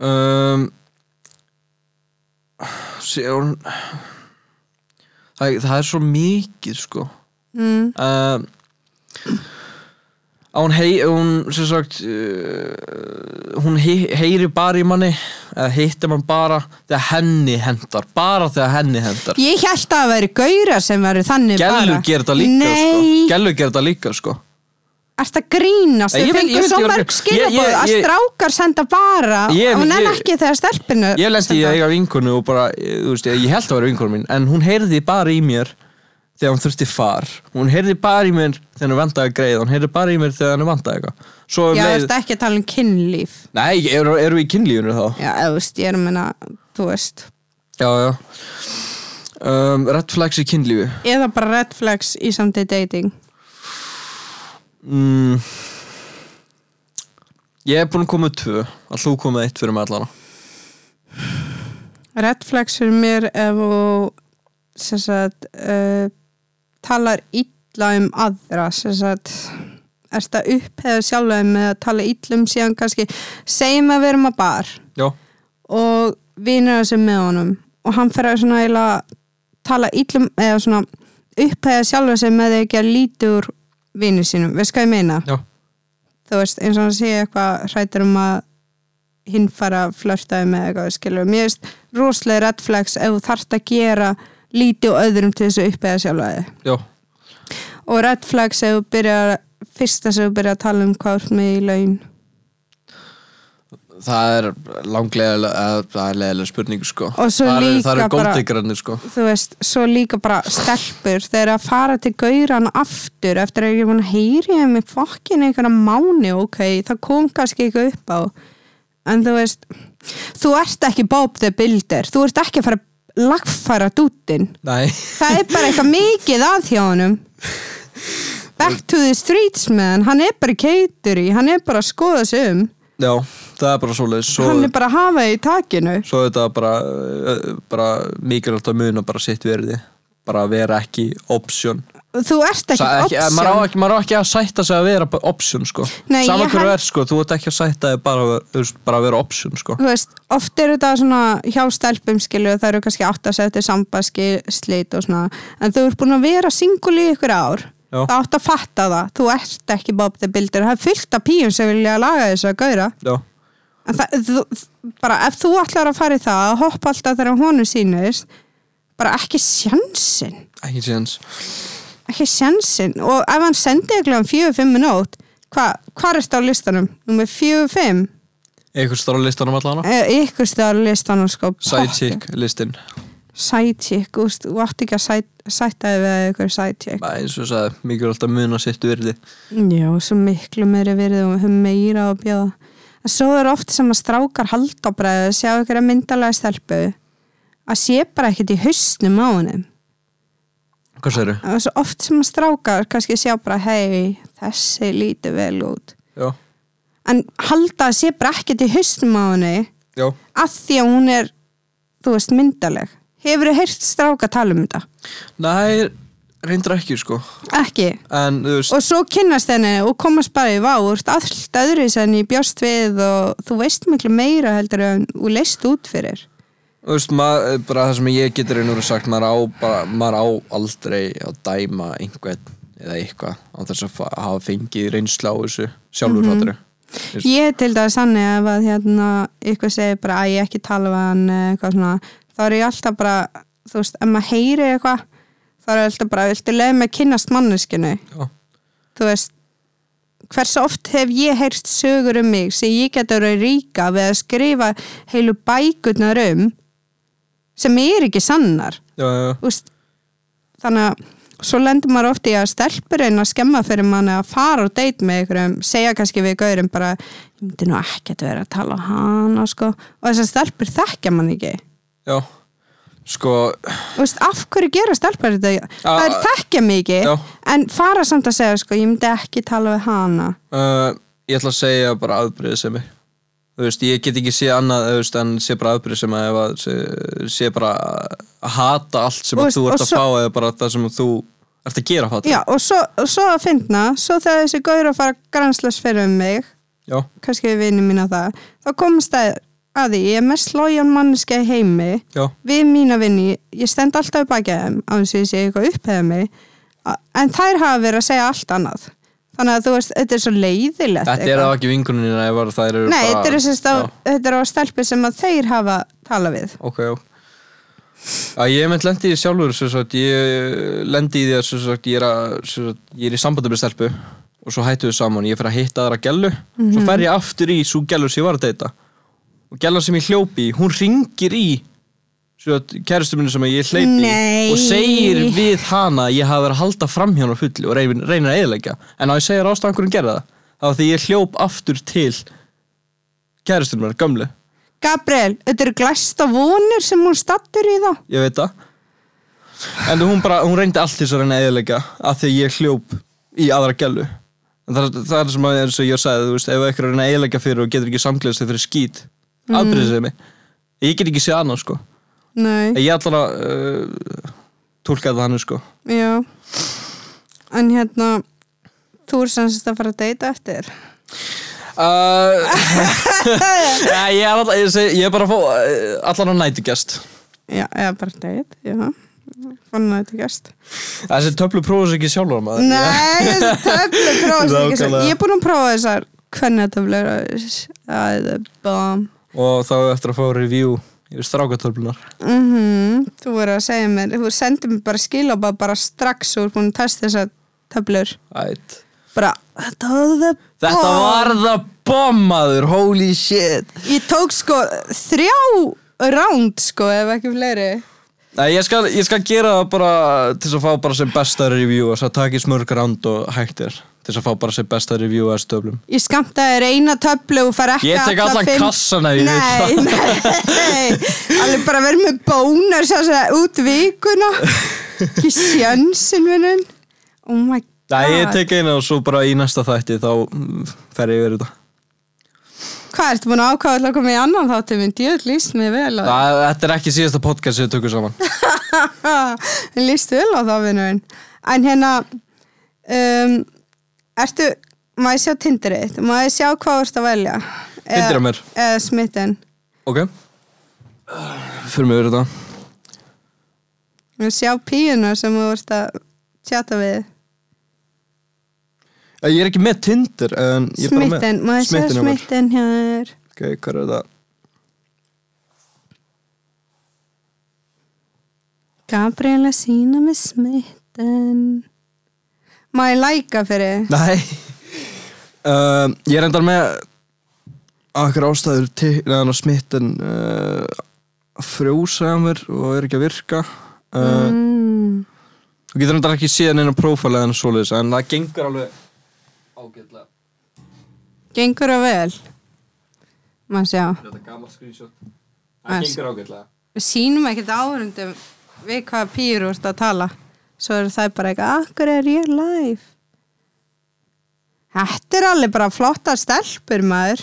Speaker 2: um, sé, hún, það, það er svo mikið sko
Speaker 1: Mm.
Speaker 2: um, að hún, hei, hún sem sagt uh, hún hei, heyri bara í manni eða hittir mann bara þegar henni hendar bara þegar henni hendar
Speaker 1: Ég held að það væri gauðra sem væri þannig
Speaker 2: Gellur
Speaker 1: bara
Speaker 2: gerir þetta líka sko
Speaker 1: Nei,
Speaker 2: Gellur gerir þetta líka sko
Speaker 1: ert að grínast Þau
Speaker 2: Ég veit- ég
Speaker 1: fengur
Speaker 2: veit
Speaker 1: svo
Speaker 2: ekki
Speaker 1: mörg
Speaker 2: hvað-
Speaker 1: skilabóð
Speaker 2: Ég- ég-
Speaker 1: að
Speaker 2: ég-
Speaker 1: strákar senda bara
Speaker 2: Ég-
Speaker 1: og nenn
Speaker 2: ég-
Speaker 1: ekki þegar stelpinu
Speaker 2: Ég lendi í að eiga vinkonu og bara, eh, þú veist, ég held að vera vinkonu mín En hún heyrði bara í mér þegar hún þurfti far hún heyrði bara í mér þegar hún vantaði að greiða hún heyrði bara í mér þegar hún vantaði eitthvað svo um
Speaker 1: Já,
Speaker 2: leið,
Speaker 1: ertu ekki að tala um kynlíf
Speaker 2: nei, eru, eru við í kynlífinu þá?
Speaker 1: Já, eða, þú veist, ég er að menna, þú veist
Speaker 2: já, já um, red flags í kynlífi
Speaker 1: Eða bara red flags í samtíð dating
Speaker 2: mm, ég er búin að koma með tvö að þú komið eitt fyrir með allana
Speaker 1: Red flags fyrir mér ef þú sem sagt uh, talar illa um aðra sem sagt ert að uppheða sjálfum með að tala illa um síðan kannski, segjum að við erum að bar
Speaker 2: já,
Speaker 1: og vinur þessu með honum og hann fer að svona eiginlega tala illum eða svona upphæða sjálfa sig með því að gera lítið úr vinur sínum, veist hvað ég meina?
Speaker 2: já,
Speaker 1: Þú veist, eins og hann sé eitthvað hrættur um að hinn fara að flörtaði með eitthvað, skilur mér veist rosalega red flags ef þú þarft að gera lítið og öðrum til þessu upphæða sjálfa þig
Speaker 2: já
Speaker 1: og red flags ef þú byrjar fyrst þess að þú byrjar að tala um hvað þú ert með í laun
Speaker 2: það er langlega eh, það er leðilega spurning sko
Speaker 1: Og svo
Speaker 2: það
Speaker 1: líka
Speaker 2: það eru
Speaker 1: bara-
Speaker 2: góldegranir sko
Speaker 1: þú veist, svo líka bara stelpur þegar að fara til gauran aftur eftir að ég er búin að heyri ég með fokkin einhverja mánu, ok það kom kannski eitthvað upp á en þú veist, þú ert ekki Bob the Builder, þú ert ekki að fara að lagfæra dútin
Speaker 2: nei,
Speaker 1: það er bara eitthvað mikið að hjá honum back to the streets man, hann er bara keitur í hann er bara að skoða sig um
Speaker 2: já, það er bara svoleiðis svo,
Speaker 1: hann er bara að hafa í takinu
Speaker 2: svo er þetta bara, uh, bara mikilvægt að muna bara sitt verði bara að vera ekki option
Speaker 1: þú ert ekki,
Speaker 2: Sa-
Speaker 1: option.
Speaker 2: eh, maður, á ekki, maður á ekki að sætta sig að vera bara option sko
Speaker 1: Nei,
Speaker 2: saman
Speaker 1: ég
Speaker 2: hverju
Speaker 1: held-
Speaker 2: er sko, þú ert ekki að sætta þig bara, að vera- þú veist, bara að vera option sko
Speaker 1: þú veist, oft eru þetta svona hjá stelpum skilu, það eru kannski átt að setja sambaski, slit og svona en þú ert búin að vera singul í ykkur ár
Speaker 2: Já.
Speaker 1: það átt að fatta það, þú ert ekki Bob the Builder, það er fullt af píum sem vilja laga þess að gauðra
Speaker 2: já,
Speaker 1: en það, þú, bara ef þú ætlar að fara í það að hoppa alltaf þegar honum sínist bara ekki sjansinn
Speaker 2: ekki séns
Speaker 1: ekki sjansinn og ef hann sendi ykkur um 4-5 minút hvað hva er þetta á listanum? Númer 4-5
Speaker 2: einhvers stóra listanum
Speaker 1: Eh,
Speaker 2: allana
Speaker 1: ykkur stöðar listanum sko
Speaker 2: sidekick listin
Speaker 1: sidekick, úst, þú átt ekki að sæt- sætta þig við ykkur sidekick
Speaker 2: Bara eins og sagði, mikilvægt að muna sitt verði
Speaker 1: Já, svo miklu meiri verið og höfum meira að bjóða en svo er oft sem að strákar haldabræðu sjá ykkur að myndalega stelpu að sé bara ekkert í hausnum á henni
Speaker 2: hvað segirðu?
Speaker 1: og svo oft sem að strákar kannski sjá bara hei, þessi lítið vel út
Speaker 2: já,
Speaker 1: en halda að sé bara ekkert í hausnum á henni
Speaker 2: já
Speaker 1: að því að hún er þú veist, myndaleg Hefurðu heyrt stráka tala um þetta?
Speaker 2: nei, reyndir ekki sko
Speaker 1: Ekki
Speaker 2: en þú veist,
Speaker 1: og svo kynnast henni og komast bara í vá og ert allt öðru sem ég bjóst við og þú veist miklu meira heldur en þú leist út fyrir
Speaker 2: þú veist maður, bara það sem ég getur einhverju sagt, maður á, bara, maður á aldrei að dæma einhvern eða eitthvað á þess að fa- hafa fengið reynsla á þessu
Speaker 1: Mhm.
Speaker 2: sjálfur mm -hmm.
Speaker 1: ég er til dæmis sannig ef að hérna ykkur segir bara að ég ekki tala við hann eða eitthvað svona, þá er ég alltaf bara þú veist, ef maður heyri eitthvað þá er ég alltaf bara, viltu leið með kynnast manneskinu
Speaker 2: já,
Speaker 1: þú veist hversu oft hef ég heyrt sögur um mig sem ég getur að ríka við að skrifa heilu bækurnar um sem er ekki sannar
Speaker 2: já, já,
Speaker 1: úst, þannig að svo lendur maður oft í að stelpurinn að skemma fyrir manni að fara og deit með einhverjum, segja kannski við gaurum bara, ég myndi nú ekkert vera að tala um hana sko, og þessar stelpur þekkja mann ekki,
Speaker 2: já sko,
Speaker 1: Þú veist, af hverju gera stelpur þetta,
Speaker 2: Já,
Speaker 1: það er þekkja mig ekki
Speaker 2: já.
Speaker 1: en fara samt að segja sko, ég myndi ekki tala við hana
Speaker 2: uh, ég ætla að segja bara afbreyðið sem ég þú veist, ég get ekki sé annað þú veist, en sé bara afbreyðið sem að ef að sé, sé bara að hata allt sem
Speaker 1: Og
Speaker 2: að
Speaker 1: veist,
Speaker 2: þú ert
Speaker 1: og
Speaker 2: að
Speaker 1: svo-
Speaker 2: fá eða bara það sem að þú ert að gera fattu
Speaker 1: já, og svo, og svo að finna, svo þegar þessi gaur að fara grænslas fyrir um mig
Speaker 2: já,
Speaker 1: kannski við vinnum mína það þá komast það að því, ég er mest lójan manneska í heimi
Speaker 2: já,
Speaker 1: við mína vinni, ég stend alltaf upp að þeim á þess að ég sé eitthvað upphefða mig a- en þær hafa verið að segja allt annað þannig að þú veist, þetta er svo leiðilegt
Speaker 2: þetta er
Speaker 1: eitthvað.
Speaker 2: það ekki vingunina ef að þær eru
Speaker 1: Nei,
Speaker 2: bara
Speaker 1: þetta er, sérst, á,
Speaker 2: Já.
Speaker 1: þetta er á stelpu sem að þeir hafa talað við
Speaker 2: ok, já Já, ég meint lendi í því sjálfur sem sagt, ég lendi í því að sem sagt, ég, er að, sem sagt, ég er í sambandi með stelpu og svo hættu við saman, ég fer að hitta aðra gellu svo fer ég aftur í svo gellu sem ég var að deyta og gellan sem ég hljópi í, hún ringir í kæristu minni sem ég hleypi
Speaker 1: Nei.
Speaker 2: og segir við hana að ég hafi verið að halda fram hjá hana á fullu og reynir, reynir að eðilegja en á ég segir ástæðan hvernig gerði það þá var því ég hljóp aftur til kæristu minni, gömlu
Speaker 1: Gabriel, þetta eru glæsta vonir sem hún stattur í þá
Speaker 2: ég veit það en hún, bara, hún reyndi allt þess að reyna að eðilegja af því að ég hljóp í aðra gælu en það, það er sem að eins og ég sagði þú veist, ef eitthvað reyna að eðilegja fyrir og getur ekki samklæðist þig fyrir skít, mm. ég get ekki séð annað sko
Speaker 1: Nei,
Speaker 2: ég ætlar að uh, tólka það hann sko
Speaker 1: já En hérna Þú er sannsagt að fara að deyta eftir
Speaker 2: Uh, ég, er alltaf, ég, seg, ég er bara að fá uh, allan á nætugest
Speaker 1: Já, eða bara deyt, já Fann að þetta gæst
Speaker 2: Þessi töflu prófus ekki sjálfur maður
Speaker 1: Nei, þessi töflu prófaði ekki svo.
Speaker 2: Nákvæmlega.
Speaker 1: Ég er búin að prófa þessar hvernig töflur að bám
Speaker 2: Og þá á eftir að fá review yfir strákatöflunar
Speaker 1: Mm Þú voru að segja mér, þú sendir mér bara skilabað bara strax og hún test þessar töflur
Speaker 2: Æt.
Speaker 1: bara, þetta var það
Speaker 2: Þetta
Speaker 1: Ah.
Speaker 2: var það bombaður, holy shit
Speaker 1: Ég tók sko þrjá ránd sko ef ekki fleiri
Speaker 2: Nei, ég skal, ég skal gera það bara til þess að fá bara sem besta review og þess að taka í smörg ránd og hægt er til þess að fá bara sem besta review að stöflum
Speaker 1: Ég skamtaði þér eina töflu og fara ekki
Speaker 2: Ég tek
Speaker 1: alla
Speaker 2: allan
Speaker 1: fimm-
Speaker 2: kassan ef ég
Speaker 1: Nei,
Speaker 2: vil
Speaker 1: nei, alveg bara verið með bónus þess að út vikuna ekki sjönsinn vinnun oh my god
Speaker 2: Nei, ég tek eina og svo bara í næsta þætti þá mm, fer ég yfir þetta
Speaker 1: hvað ertu búin að ákvæða til að koma í annan þáttum en djöð líst mér vel á
Speaker 2: Það, þetta er ekki síðasta podcast sem við tökum saman
Speaker 1: það líst vel á það vinnun en hérna um, ertu, má ég sjá tindirið má ég sjá hvað þú ert að velja Eða-
Speaker 2: Tindir á mér.
Speaker 1: eða smitten
Speaker 2: Ok Fyrir mig verið þetta
Speaker 1: Ég sjá píuna sem þú ert að tjata við
Speaker 2: Eh, Ég er ekki með Tinder en ég er bara með-
Speaker 1: smitten, maður sjá
Speaker 2: Smitten hjá mér.
Speaker 1: smitten hér
Speaker 2: Ok, hvað er það?
Speaker 1: Gabriela sína með smitten Má ég læka fyrir
Speaker 2: Nei uh, Ég er endar með Akkur ástæður Neðan á smitten uh, Frjósa hjá mér og er ekki að virka uh,
Speaker 1: mm.
Speaker 2: Þú getur endar ekki síðan inn á prófæla En svoleiðis en það gengur alveg Ágætlega
Speaker 1: Gengur það vel Má sjá
Speaker 2: Þetta er gammal screenshot
Speaker 1: Ah,
Speaker 2: Það gengur ágætlega
Speaker 1: Við sýnum ekkert áhörundum við hvað pýr úrst að tala Svo eru það bara eitthvað Akkur er ég live Þetta er alveg bara flottar stelpur maður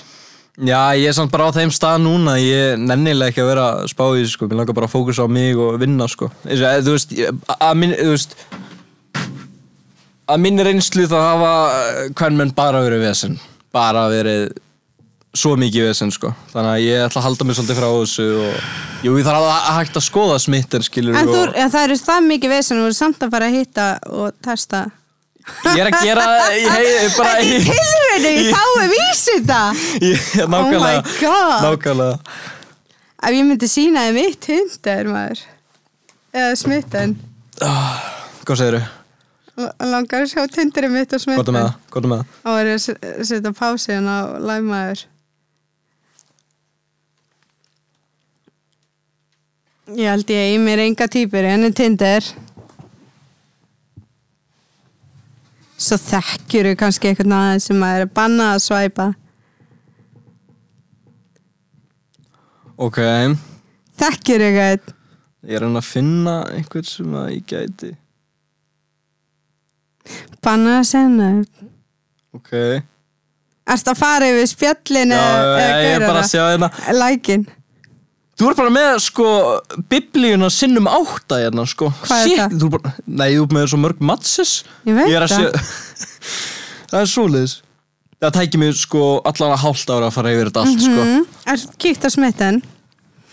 Speaker 2: Já, ég er samt bara á þeim stað núna ég nennilega ekki að vera að spá í þessu sko. mér langar bara að fókusa á mig og vinna sko. Eins og, eh, þú veist, ég- að- að minn þú veist að minn reynslu þá hafa eh, hvern menn bara verið vesen bara verið svo mikið vesen sko. þannig að ég ætla að halda mig svolítið frá þessu og jú, ég þarf að, að hægt að skoða smittin skilur
Speaker 1: En þú,
Speaker 2: og
Speaker 1: en það eru það mikið vesen og þú eru samt að fara að hitta og testa
Speaker 2: ég er að gera ég, ég, ég, bara,
Speaker 1: Þetta er
Speaker 2: ég,
Speaker 1: tilröðinu, ég fái vísita
Speaker 2: ég,
Speaker 1: Oh
Speaker 2: nákvæmlega,
Speaker 1: my God.
Speaker 2: nákvæmlega
Speaker 1: Ef ég myndi sína þið mitt hundar maður eða smitten
Speaker 2: Hvað segirðu?
Speaker 1: L- langar að sjá tindurinn mitt og
Speaker 2: Hvað er
Speaker 1: smitten
Speaker 2: með það? Hvað er með það?
Speaker 1: og er ég að se- setja pásin á læmaður Ég held ég í mér enga týpur en er tindur Svo þekkjur þú kannski eitthvað aðeins sem maður er bannað að svæpa
Speaker 2: Ok,
Speaker 1: Þekkjur eitthvað
Speaker 2: Ég er að reyna að finna einhvern sem að ég gæti
Speaker 1: bannað að segja nöfn
Speaker 2: Ok
Speaker 1: Ertu að fara yfir spjallin
Speaker 2: Já,
Speaker 1: eða-
Speaker 2: ég,
Speaker 1: eða
Speaker 2: ég er bara
Speaker 1: gaurana?
Speaker 2: að sjá hérna
Speaker 1: Lækin
Speaker 2: Þú er bara með sko biblíuna sinnum átta hérna sko
Speaker 1: Hvað er
Speaker 2: Shit,
Speaker 1: það?
Speaker 2: Þú er bara, nei, þú er með svo mörg matsis
Speaker 1: Ég veit
Speaker 2: er að
Speaker 1: það.
Speaker 2: sjá Það er svoleiðis Það tækir mig sko allan að hálft ára að fara yfir þetta allt
Speaker 1: mm, Ertu kíkt á smitten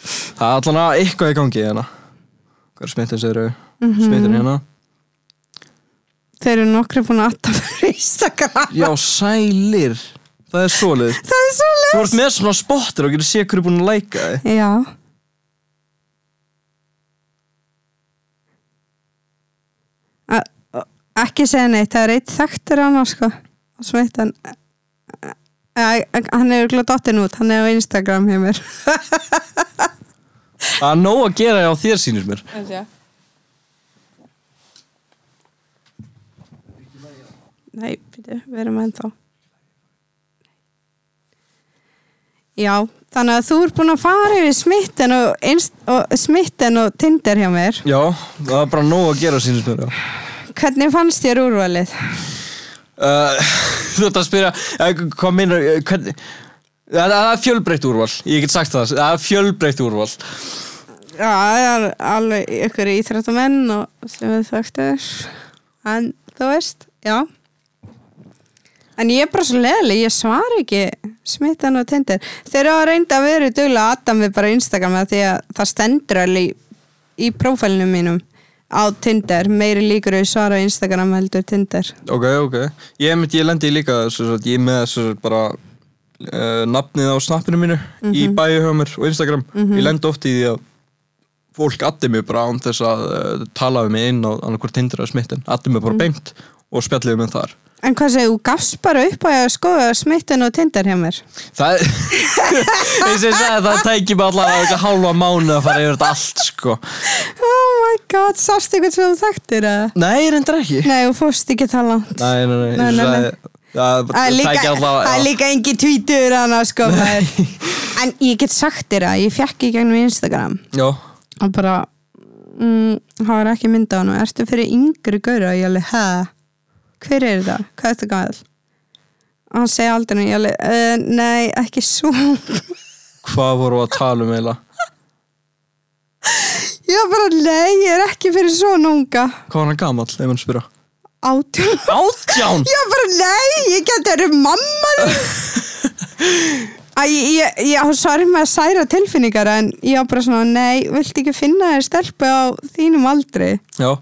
Speaker 2: sko Það er allan að eitthvað í gangi hérna Hvað er smittin segir þau?
Speaker 1: Mhm.
Speaker 2: Smittin hérna
Speaker 1: Þeir eru nokkri búin að atta fyrir Instagram
Speaker 2: Já, sælir Það er svoleiðis
Speaker 1: Það er svo
Speaker 2: Þú ert með svona spottir og getur séð hverju búin að læka þið
Speaker 1: leið Já A- a- Ekki segja neitt Það er eitt þekktur hann sko á smitten Æ, Hann er glóð dottin út Hann er á Instagram hjá mér
Speaker 2: Það er nóg að gera á þér sýnir mér
Speaker 1: Þessi, Nei, byrju, við erum ennþá. Já, þannig að þú ert búin að fara yfir smitten og, inst, og smitten og tindir hjá mér.
Speaker 2: Já, það er bara nóg að gera sýnir mér já.
Speaker 1: Hvernig fannst þér úrvalið?
Speaker 2: uh, Þú ert að spyrja uh, Hvað meinar uh, hvern- Það það er fjölbreytt úrval Ég get sagt það, það er fjölbreytt úrval
Speaker 1: Já, það er alveg ykkur íþrættamenn og sem við þekktir. En þú veist, já. En ég er bara svo leðileg, ég svar ekki smittan og tindir. Þeir eru að reynda að vera duglega Adam við bara Instagram af því að það stendur alveg í, í prófælnum mínum á Tinder. Meiri líkur að ég svara á Instagram heldur Tinder.
Speaker 2: Ok, ok Ég, mynd, ég lendi líka, sem sagt, ég er með sem sagt, bara uh, nafnið á snappinu mínu í bæju hjá mér og Instagram Ég lendi oft í því að fólk addi mig bara án þess að uh, tala við mig inn á annarkvort tindra smittin addi mig bara beint og spjallið mig þar
Speaker 1: En hvað segir, þú gafst bara upp á að skoða smittan og Tinder hjá mér?
Speaker 2: Það er, eins og ég sagði það tækir mig allavega hálfa mánu að fara yfir þetta allt sko
Speaker 1: Oh my god, sástu ykkur sem þú þekktir að?
Speaker 2: Nei, reyndar ekki
Speaker 1: Nei, þú fórst ekki það langt.
Speaker 2: Nei, nei, nei,
Speaker 1: Nei,
Speaker 2: nei,
Speaker 1: nei,
Speaker 2: nei,
Speaker 1: nei.
Speaker 2: nei. Það
Speaker 1: Það er líka,
Speaker 2: tækir
Speaker 1: það er
Speaker 2: allavega
Speaker 1: líka engi tvítur hana sko maður. En ég get sagt þér að ég fekk í gegnum Instagram
Speaker 2: Já,
Speaker 1: og bara mm, það var ekki mynda á hann ertu fyrir yngri gaura og ég alveg hæ, hver er það, hvað er það gæðal og hann segi aldrei ég alveg, uh, nei, ekki svo ég
Speaker 2: hvað voru að tala um eiginlega?
Speaker 1: var bara, nei, ég er ekki fyrir svo núnga
Speaker 2: Hvað var hann gamall, ef hann spyrja?
Speaker 1: átjón
Speaker 2: Átján?
Speaker 1: Já, bara nei, ég geti verið mamma þín. Æ, ég, ég, ég á sorg með að særa tilfinningar en ég á bara svona, nei, viltu ekki finna þér stelpu á þínum aldri?
Speaker 2: Já,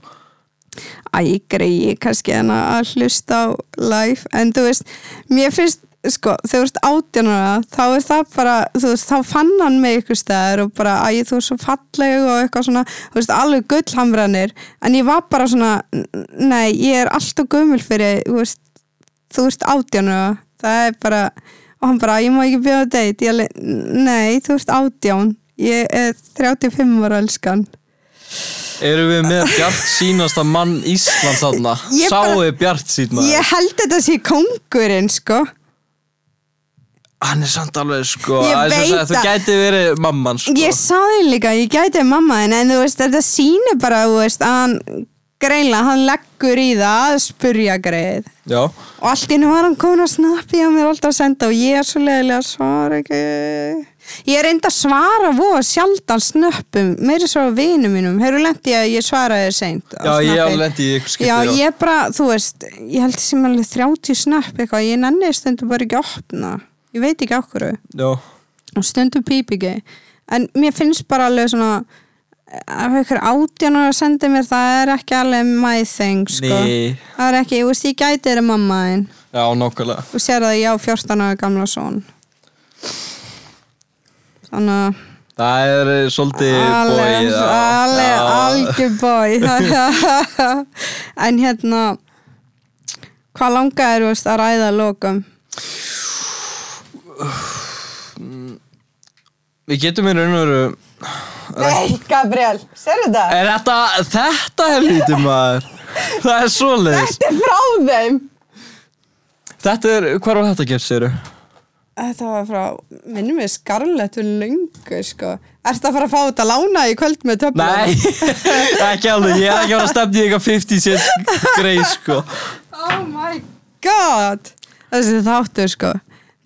Speaker 1: Æ, ég greiði kannski en að hlusta á live, en þú veist, mér finnst, sko, þegar þú veist átjánara, þá er það bara, þú veist, þá fann hann mig ykkur stæðar og bara, æ, þú veist, svo falleg og eitthvað svona, þú veist, alveg gullhamranir, en ég var bara svona, n- nei, ég er alltaf gömul fyrir, þú veist, þú ert átján og það er bara og hann bara, ég má ekki bjóða á date ég alveg, nei, þú ert átján ég er 35 ára elskan
Speaker 2: erum við með Bjart sínasta mann Íslands þarna?
Speaker 1: Ég bara-
Speaker 2: Sáuði Bjart sína?
Speaker 1: ég held þetta sé kongurinn sko
Speaker 2: Hann er samt alveg sko,
Speaker 1: Ég
Speaker 2: eins og
Speaker 1: veit
Speaker 2: sagði, þú
Speaker 1: það.
Speaker 2: gæti verið mamman sko.
Speaker 1: ég sá þig líka, ég gæti mamma þín en þú veist, þetta sýnir bara þú veist, að hann greinlega, hann leggur í það að spurja greið
Speaker 2: Já,
Speaker 1: og allt í nú var hann komin að snappi að mér alltaf að senda og ég er svo leiðilega að svara ekki ég er enda að svara voða sjaldan snöppum meiri svo að vinum mínum hefur lent ég að ég svaraði seint á
Speaker 2: já ég
Speaker 1: snappi?
Speaker 2: alveg lendi í ykkur skipti.
Speaker 1: já ég bara, þú veist ég held sem alveg 30 snöpp eitthvað ég nenni stundum bara ekki að opna ég veit ekki okkur
Speaker 2: Já,
Speaker 1: og stundum píp ekki en mér finnst bara alveg svona ef ykkur átján og sendi mér það er ekki alveg my thing sko.
Speaker 2: Nei.
Speaker 1: það er ekki, ég veist ég gæti þeirra mamma þinn
Speaker 2: já nokkulega.
Speaker 1: Þú sér að ég á 14 ára gamla són Þannig að
Speaker 2: Það er eh, svolítið bóið.
Speaker 1: Alveg, alveg, algjör bói En hérna Hvað langa er veist, að ræða að lokum?
Speaker 2: Við getum í raun og veru,
Speaker 1: Nei, Gabriel, sérðu það?
Speaker 2: er þetta, þetta helvítið maður? Það er svoleiðis.
Speaker 1: Þetta er frá þeim
Speaker 2: Þetta er, hvað var þetta gert, séru?
Speaker 1: Þetta var frá, minnum við skarlættu löngu sko Ertu að fara að fá þetta lána í kvöld með töflum?
Speaker 2: Nei, ekki alveg, ég er ekki að vera að stefna í eitthvað 50 cent greið, sko.
Speaker 1: Oh my god Þessi þáttur sko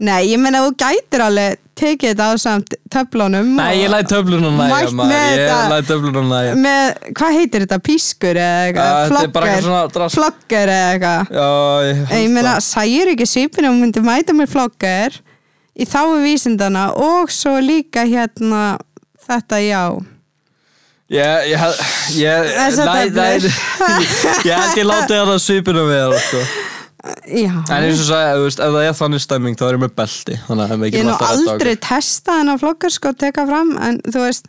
Speaker 1: Nei, ég meina þú gætir alveg tekið þetta á samt töflunum
Speaker 2: Nei, ég læt töfluna næja,
Speaker 1: Mælt
Speaker 2: maður,
Speaker 1: með þetta.
Speaker 2: ég læt töfluna næja.
Speaker 1: Með, hvað heitir þetta? Pískur eða
Speaker 2: Ja,
Speaker 1: eitthvað?
Speaker 2: þetta er bara eitthvað svona
Speaker 1: Flogger?
Speaker 2: drasl.
Speaker 1: Flogger eða eitthvað?
Speaker 2: Já, ég held
Speaker 1: Ég meina,
Speaker 2: það.
Speaker 1: særi ekki svipinu og myndi mæta mér flogger í þáu vísindana og svo líka hérna þetta já
Speaker 2: Ég, ég, held- ég,
Speaker 1: Þessar
Speaker 2: nei, nei,
Speaker 1: töflur.
Speaker 2: ég held ég láti það svipinu við það, sko.
Speaker 1: Já,
Speaker 2: En eins og sagði, þú veist, ef það er þannig stemming, þá er ég með belti, þannig að
Speaker 1: ég
Speaker 2: við
Speaker 1: er
Speaker 2: getum
Speaker 1: nú
Speaker 2: alltaf redda
Speaker 1: aldrei testað hennar flogger sko teka fram en þú veist,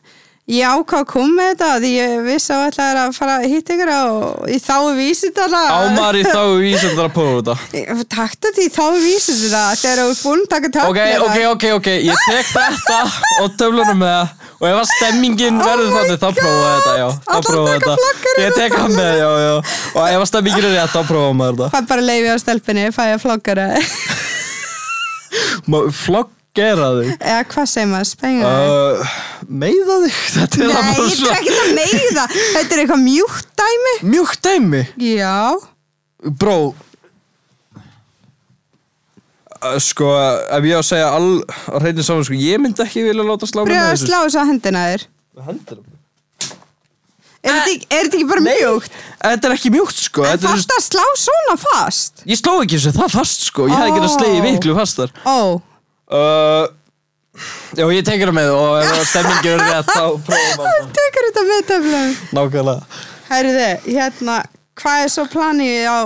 Speaker 1: ég ákvað að koma með þetta því ég vissi að það er að fara að hitta ykkur og í þáu vísindana
Speaker 2: Ámar í þá vísindar að prófa þetta.
Speaker 1: Takta því þá vísum þetta þegar þú er búin að taka töflina
Speaker 2: Ok, ok, ok, ok, ég tek þetta og töflunum með það og ef að stemmingin verður þannig þá prófa þetta, já, þá
Speaker 1: Oh Allar
Speaker 2: prófa
Speaker 1: taka hérna.
Speaker 2: þetta
Speaker 1: flaggarinn
Speaker 2: ég
Speaker 1: og
Speaker 2: tek hann með, já, já og ef að stemmingin er rétt, þá prófa maður
Speaker 1: Fæ bara leiði á stelpunni, fæ að flokkara
Speaker 2: þetta floggera þig
Speaker 1: Eða hvað segir maður, spengur
Speaker 2: uh, meiða þig, þetta er
Speaker 1: Nei,
Speaker 2: bara
Speaker 1: ég er
Speaker 2: svo
Speaker 1: ekki að meiða Þetta er eitthvað mjúkt dæmi
Speaker 2: mjúkt dæmi
Speaker 1: Já,
Speaker 2: Bró Uh, Sko, ef ég á að segja all að reyna saman, sko, ég myndi ekki vilja láta slá
Speaker 1: pröfa að slá þessu á hendina þér
Speaker 2: Hendur
Speaker 1: Er þetta ekki- er þetta ekki bara mjúkt?
Speaker 2: Þetta er ekki mjúkt, sko
Speaker 1: En
Speaker 2: þetta er,
Speaker 1: fast að slá svona fast
Speaker 2: Ég sló ekki þessu það fast, sko Ég hefði ekki að slegi
Speaker 1: Ó.
Speaker 2: miklu fastar
Speaker 1: Ó,
Speaker 2: uh, Já, ég tekur það með og ef stemmingi er rétt þá prófum
Speaker 1: þú
Speaker 2: við
Speaker 1: tekur þetta með töflum
Speaker 2: það Nákvæmlega
Speaker 1: Herðu, hérna, hvað er svo planið á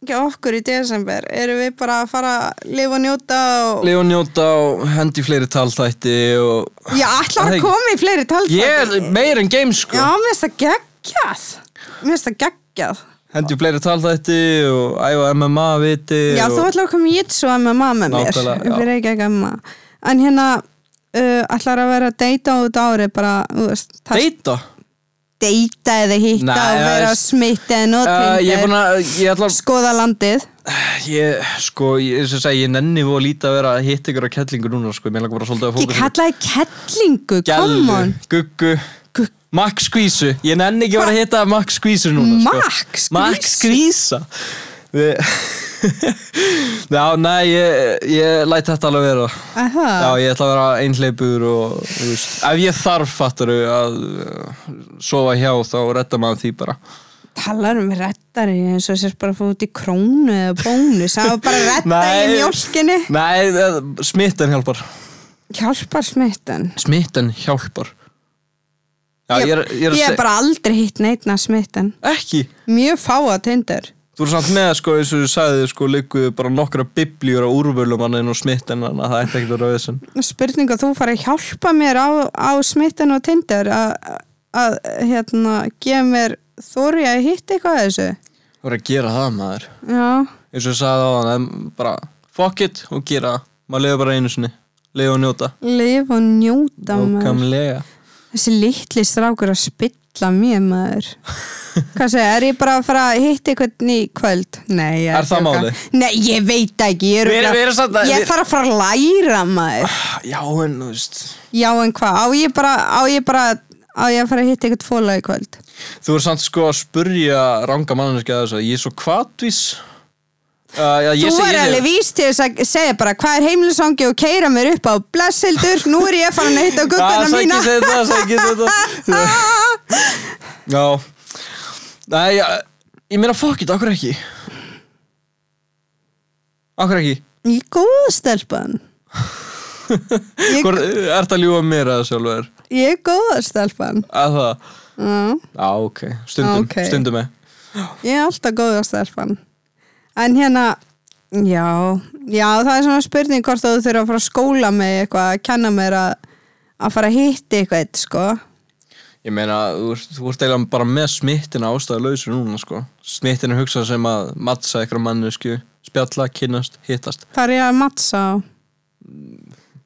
Speaker 1: ekki okkur í desember? Erum við bara að fara að lifa og njóta og...
Speaker 2: Leon njóta og hendi í fleiri talþætti og
Speaker 1: Ég ætlar
Speaker 2: Það
Speaker 1: að
Speaker 2: er-
Speaker 1: koma í fleiri talfæti.
Speaker 2: Ég er meir en game, sko
Speaker 1: Já, mér finnst það geggjað. Mér finnst það geggjað.
Speaker 2: Hendi í fleiri talþætti og æfa MMA-viti
Speaker 1: Já,
Speaker 2: og...
Speaker 1: þú ætlar að koma í jitsu að mamma með mér.
Speaker 2: Nákvæmlega, já.
Speaker 1: Við erum ekki ekki að mamma. En hérna, uh, ætlar að vera að deyta út árið bara, þú veist, það
Speaker 2: Deita?
Speaker 1: deyta eða hitta
Speaker 2: Nei,
Speaker 1: og
Speaker 2: það
Speaker 1: vera
Speaker 2: er-
Speaker 1: að smitta eða
Speaker 2: Uh, ég er
Speaker 1: notlindir.
Speaker 2: búin að, ég ætla að,
Speaker 1: Skoða landið.
Speaker 2: ég, sko, ég, eins og segi, ég nenni og lítið að vera að hitta ykkur á kettlingu núna, sko, mér langar bara svolítið að
Speaker 1: Ég
Speaker 2: fókusa.
Speaker 1: kallaði kettlingu, come on.
Speaker 2: Guggu,
Speaker 1: Gugg-
Speaker 2: Max Skvísu, ég nenni ekki að vera að hitta Max Skvísu núna, sko.
Speaker 1: Max Skvísu?
Speaker 2: Max Skvísa. Við, já, nei, ég, ég læt þetta alveg vera.
Speaker 1: Aha.
Speaker 2: Já, ég ætla að vera einhleipur og, þú veist, ef ég þarf, fattaru, að uh, sofa hjá, þá redda maður því bara.
Speaker 1: talar um reddari eins og sér bara að fá út í krónu eða bónus, það var bara redda í
Speaker 2: Nei.
Speaker 1: mjólkinni
Speaker 2: Nei, eh, smitten hjálpar.
Speaker 1: hjálpar smittan
Speaker 2: smitten hjálpar Já, ég, er, ég, er að
Speaker 1: ég hef
Speaker 2: seg-
Speaker 1: bara aldrei hitt neitna smittan
Speaker 2: Ekki,
Speaker 1: mjög fáa tindur
Speaker 2: þú eru samt með sko, eins og þú sagði, sko, líkuðu bara nokkra biblíur á úrvölum hann en á smitten hann að það ætti ekkert að vera þessum
Speaker 1: spurning að þú fari að hjálpa mér á, á smittan og tindur að, að hérna gefa mér þóri að hitta eitthvað af þessu
Speaker 2: Þú voru að gera það maður
Speaker 1: já,
Speaker 2: eins og þú sagði á hann, bara fuck it og gera það, maður lifa bara einu sinni lifa og njóta
Speaker 1: lifa og njóta maður.
Speaker 2: Nákvæmlega
Speaker 1: þessi litli strákur að spilla mér maður Hvað segja, er ég bara að fara að hitta einhvern í kvöld? Nei, ég
Speaker 2: Er það
Speaker 1: að-
Speaker 2: málið?
Speaker 1: Nei, ég veit ekki Ég,
Speaker 2: Við erum- við erum samt að-
Speaker 1: ég
Speaker 2: við-
Speaker 1: þarf að fara að læra maður
Speaker 2: Já, en þú veist
Speaker 1: Já, en hvað, á ég bara á ég, bara, á ég að fara að hitta einhvern fóla í kvöld
Speaker 2: Þú voru samt sko að spurja ranga manninski að þess að ég er svo kvatvís uh, já, ég
Speaker 1: Þú
Speaker 2: segi-
Speaker 1: er
Speaker 2: ég-
Speaker 1: alveg víst til þess að segja bara hvað er heimlisangi og keira mér upp á blessildur Nú er ég farin að hitta
Speaker 2: Ah,
Speaker 1: gugguna mína
Speaker 2: Sækis þetta, sækis þetta Já Nei, já, ég meina fuck it, okkur ekki Okkur ekki
Speaker 1: Í góða stelpan ég,
Speaker 2: Hvor, eh, Ert að ljúga mér að sjálfur
Speaker 1: ég er góða stelpan
Speaker 2: Að það
Speaker 1: Já
Speaker 2: Já, ok, stundum,
Speaker 1: Mm. Ok.
Speaker 2: stundum með
Speaker 1: Ég er alltaf góða stelpan En hérna Já, já, það er svona spurning hvort þú þurfa að fara að skóla mig eitthvað að kenna mér að, að fara að hitti eitthvað sko.
Speaker 2: Ég meina, þú ert, þú ert eiginlega bara með smittina ástæðu lausur núna, sko Smittin er hugsað sem að mattsa ykkur mannesku Spjalla, kynnast, hittast
Speaker 1: Þar ég að mattsa á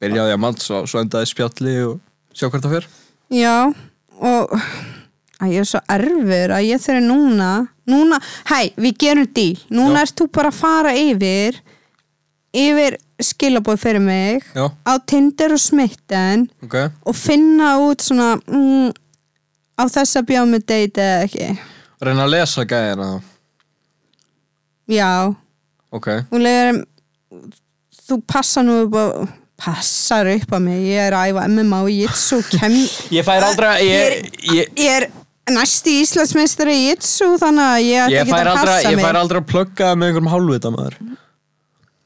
Speaker 2: Byrjaði að mattsa og svo endaði spjalli og sjá hvert það fer
Speaker 1: Já, og að ég er svo erfur að ég þurfi núna Núna, hei, við gerum díl Núna
Speaker 2: Já.
Speaker 1: ert þú bara að fara yfir yfir skilabóð fyrir mig
Speaker 2: Já,
Speaker 1: á Tinder og smitten
Speaker 2: ok
Speaker 1: og finna út svona mm, á þess að bjóða mig date eða ekki
Speaker 2: Reyna að lesa gæðina þá
Speaker 1: já,
Speaker 2: Ok,
Speaker 1: og leiður þú passa nú upp á passar upp á mig, ég er að æfa MMA og jitsu og kem
Speaker 2: Ég fær aldrei Ég, ég,
Speaker 1: ég er næsti Íslandsmeistari í jitsu þannig að ég ætti
Speaker 2: ég,
Speaker 1: ekki
Speaker 2: fær,
Speaker 1: að
Speaker 2: aldrei,
Speaker 1: passa
Speaker 2: ég
Speaker 1: mig
Speaker 2: fær aldrei að plugga með einhverjum hálfvita maður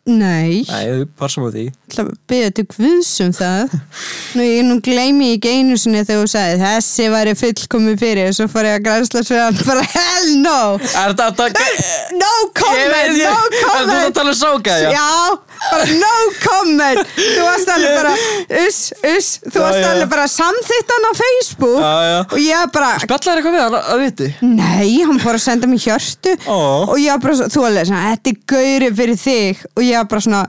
Speaker 1: nei,
Speaker 2: Nei, þú passa með því
Speaker 1: ætla að byrja til guðs um það nú ég nú gleymi ég ekki einu sinni þegar þú sagði þessi væri fullkomi fyrir og svo fór ég að græsla svo að bara hell no
Speaker 2: Er þetta að taka
Speaker 1: no comment, no
Speaker 2: Er þetta
Speaker 1: comment
Speaker 2: að tala um sákæja?
Speaker 1: Já, bara no comment Þú varst alveg bara uss, uss, Þú
Speaker 2: Já,
Speaker 1: varst
Speaker 2: já.
Speaker 1: alveg bara samþittan á Facebook
Speaker 2: Já, já.
Speaker 1: Og ég bara
Speaker 2: Spjallar eitthvað við hann að viti
Speaker 1: Nei, hann fór að senda mér hjörtu
Speaker 2: Ó.
Speaker 1: Og ég var bara, svo- þú alveg svona Þetta er gauri fyrir þig Og ég var bara svona,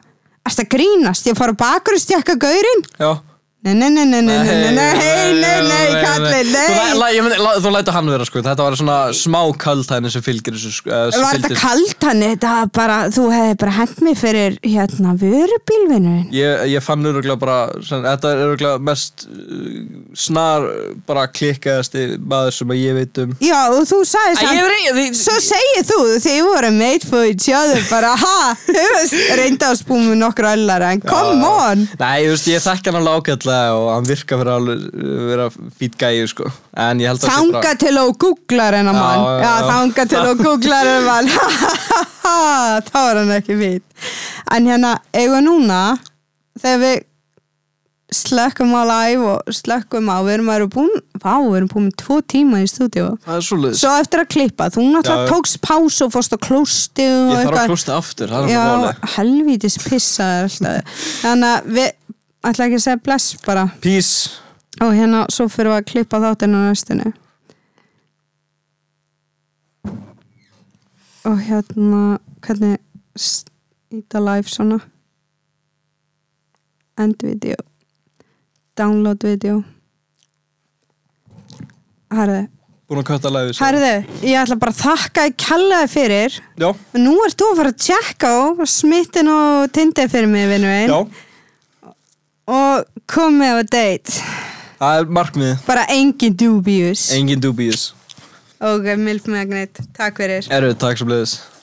Speaker 1: erst að grínast Ég fór að bakur og stjekka gaurin
Speaker 2: Já
Speaker 1: Nei, nei, nei, nei, nei, nei, nei, nei, nei, nei, kalli,
Speaker 2: Þú,
Speaker 1: nei
Speaker 2: la, ég, myndi- la, þú lætur hann vera sko, þetta var svona smá kaldhæðin sem fylgir þessu sko, eh, sem
Speaker 1: Var þetta
Speaker 2: fylgdi-
Speaker 1: kalt hann, þetta var bara, þú hefði bara hent mig fyrir hérna vörubílvinurinn.
Speaker 2: Ég, ég fann öruglega bara, sem, þetta er öruglega mest uh, snar uh, bara klikkaðasti maður sem að ég veit um
Speaker 1: Já, og þú sagði
Speaker 2: Æ, ég
Speaker 1: samt,
Speaker 2: hef reyð- því-
Speaker 1: svo segir þú, þið voru made for each other, bara ha, þú veist, reynda að spúmi nokkur öllar, en come on.
Speaker 2: Nei, þú veist, ég þekki hann alveg ágætlega og hann virka fyrir alveg uh, vera fýt gæi, sko En ég held að sé
Speaker 1: Þanga til og googlar hennar
Speaker 2: Já,
Speaker 1: mann
Speaker 2: já,
Speaker 1: Já,
Speaker 2: já.
Speaker 1: þanga til og googlar hennar mann Ha, ha, ha, ha, Þá er hann ekki fýtt En hérna, eigum við núna Þegar við slökkum á live og slökkum á Við erum að vera búin, vá, við erum búin með tvo tíma í stúdíu
Speaker 2: Það er svo leiðis
Speaker 1: Svo eftir að klippa, þú náttúrulega
Speaker 2: Já, já.
Speaker 1: tókst pásu og fórst á klósti og
Speaker 2: Ég þarf
Speaker 1: eitthvað
Speaker 2: að klústa aftur, það er
Speaker 1: Já,
Speaker 2: svo máli
Speaker 1: helvítis pissaðar alltaf Þannig að við, ætla ekki að segja bless bara
Speaker 2: Peace
Speaker 1: Og hérna, svo fyrir við að klippa þáttinn á næstunni. Og hérna, hvernig s- íta live svona? End video. Download video. Herðu,
Speaker 2: Búin að kötta læfi
Speaker 1: herðu, ég ætla bara að þakka í kjallaði fyrir.
Speaker 2: Já,
Speaker 1: Nú ert þú að fara að tjekka á smittin og tindið fyrir mig, vinnu einn.
Speaker 2: já,
Speaker 1: Og komið á date.
Speaker 2: það er markmiðið
Speaker 1: Bara engin dubious.
Speaker 2: Engin dubíus
Speaker 1: Ok, Milf Magnet, takk fyrir.
Speaker 2: Erfið, takk sem leiðis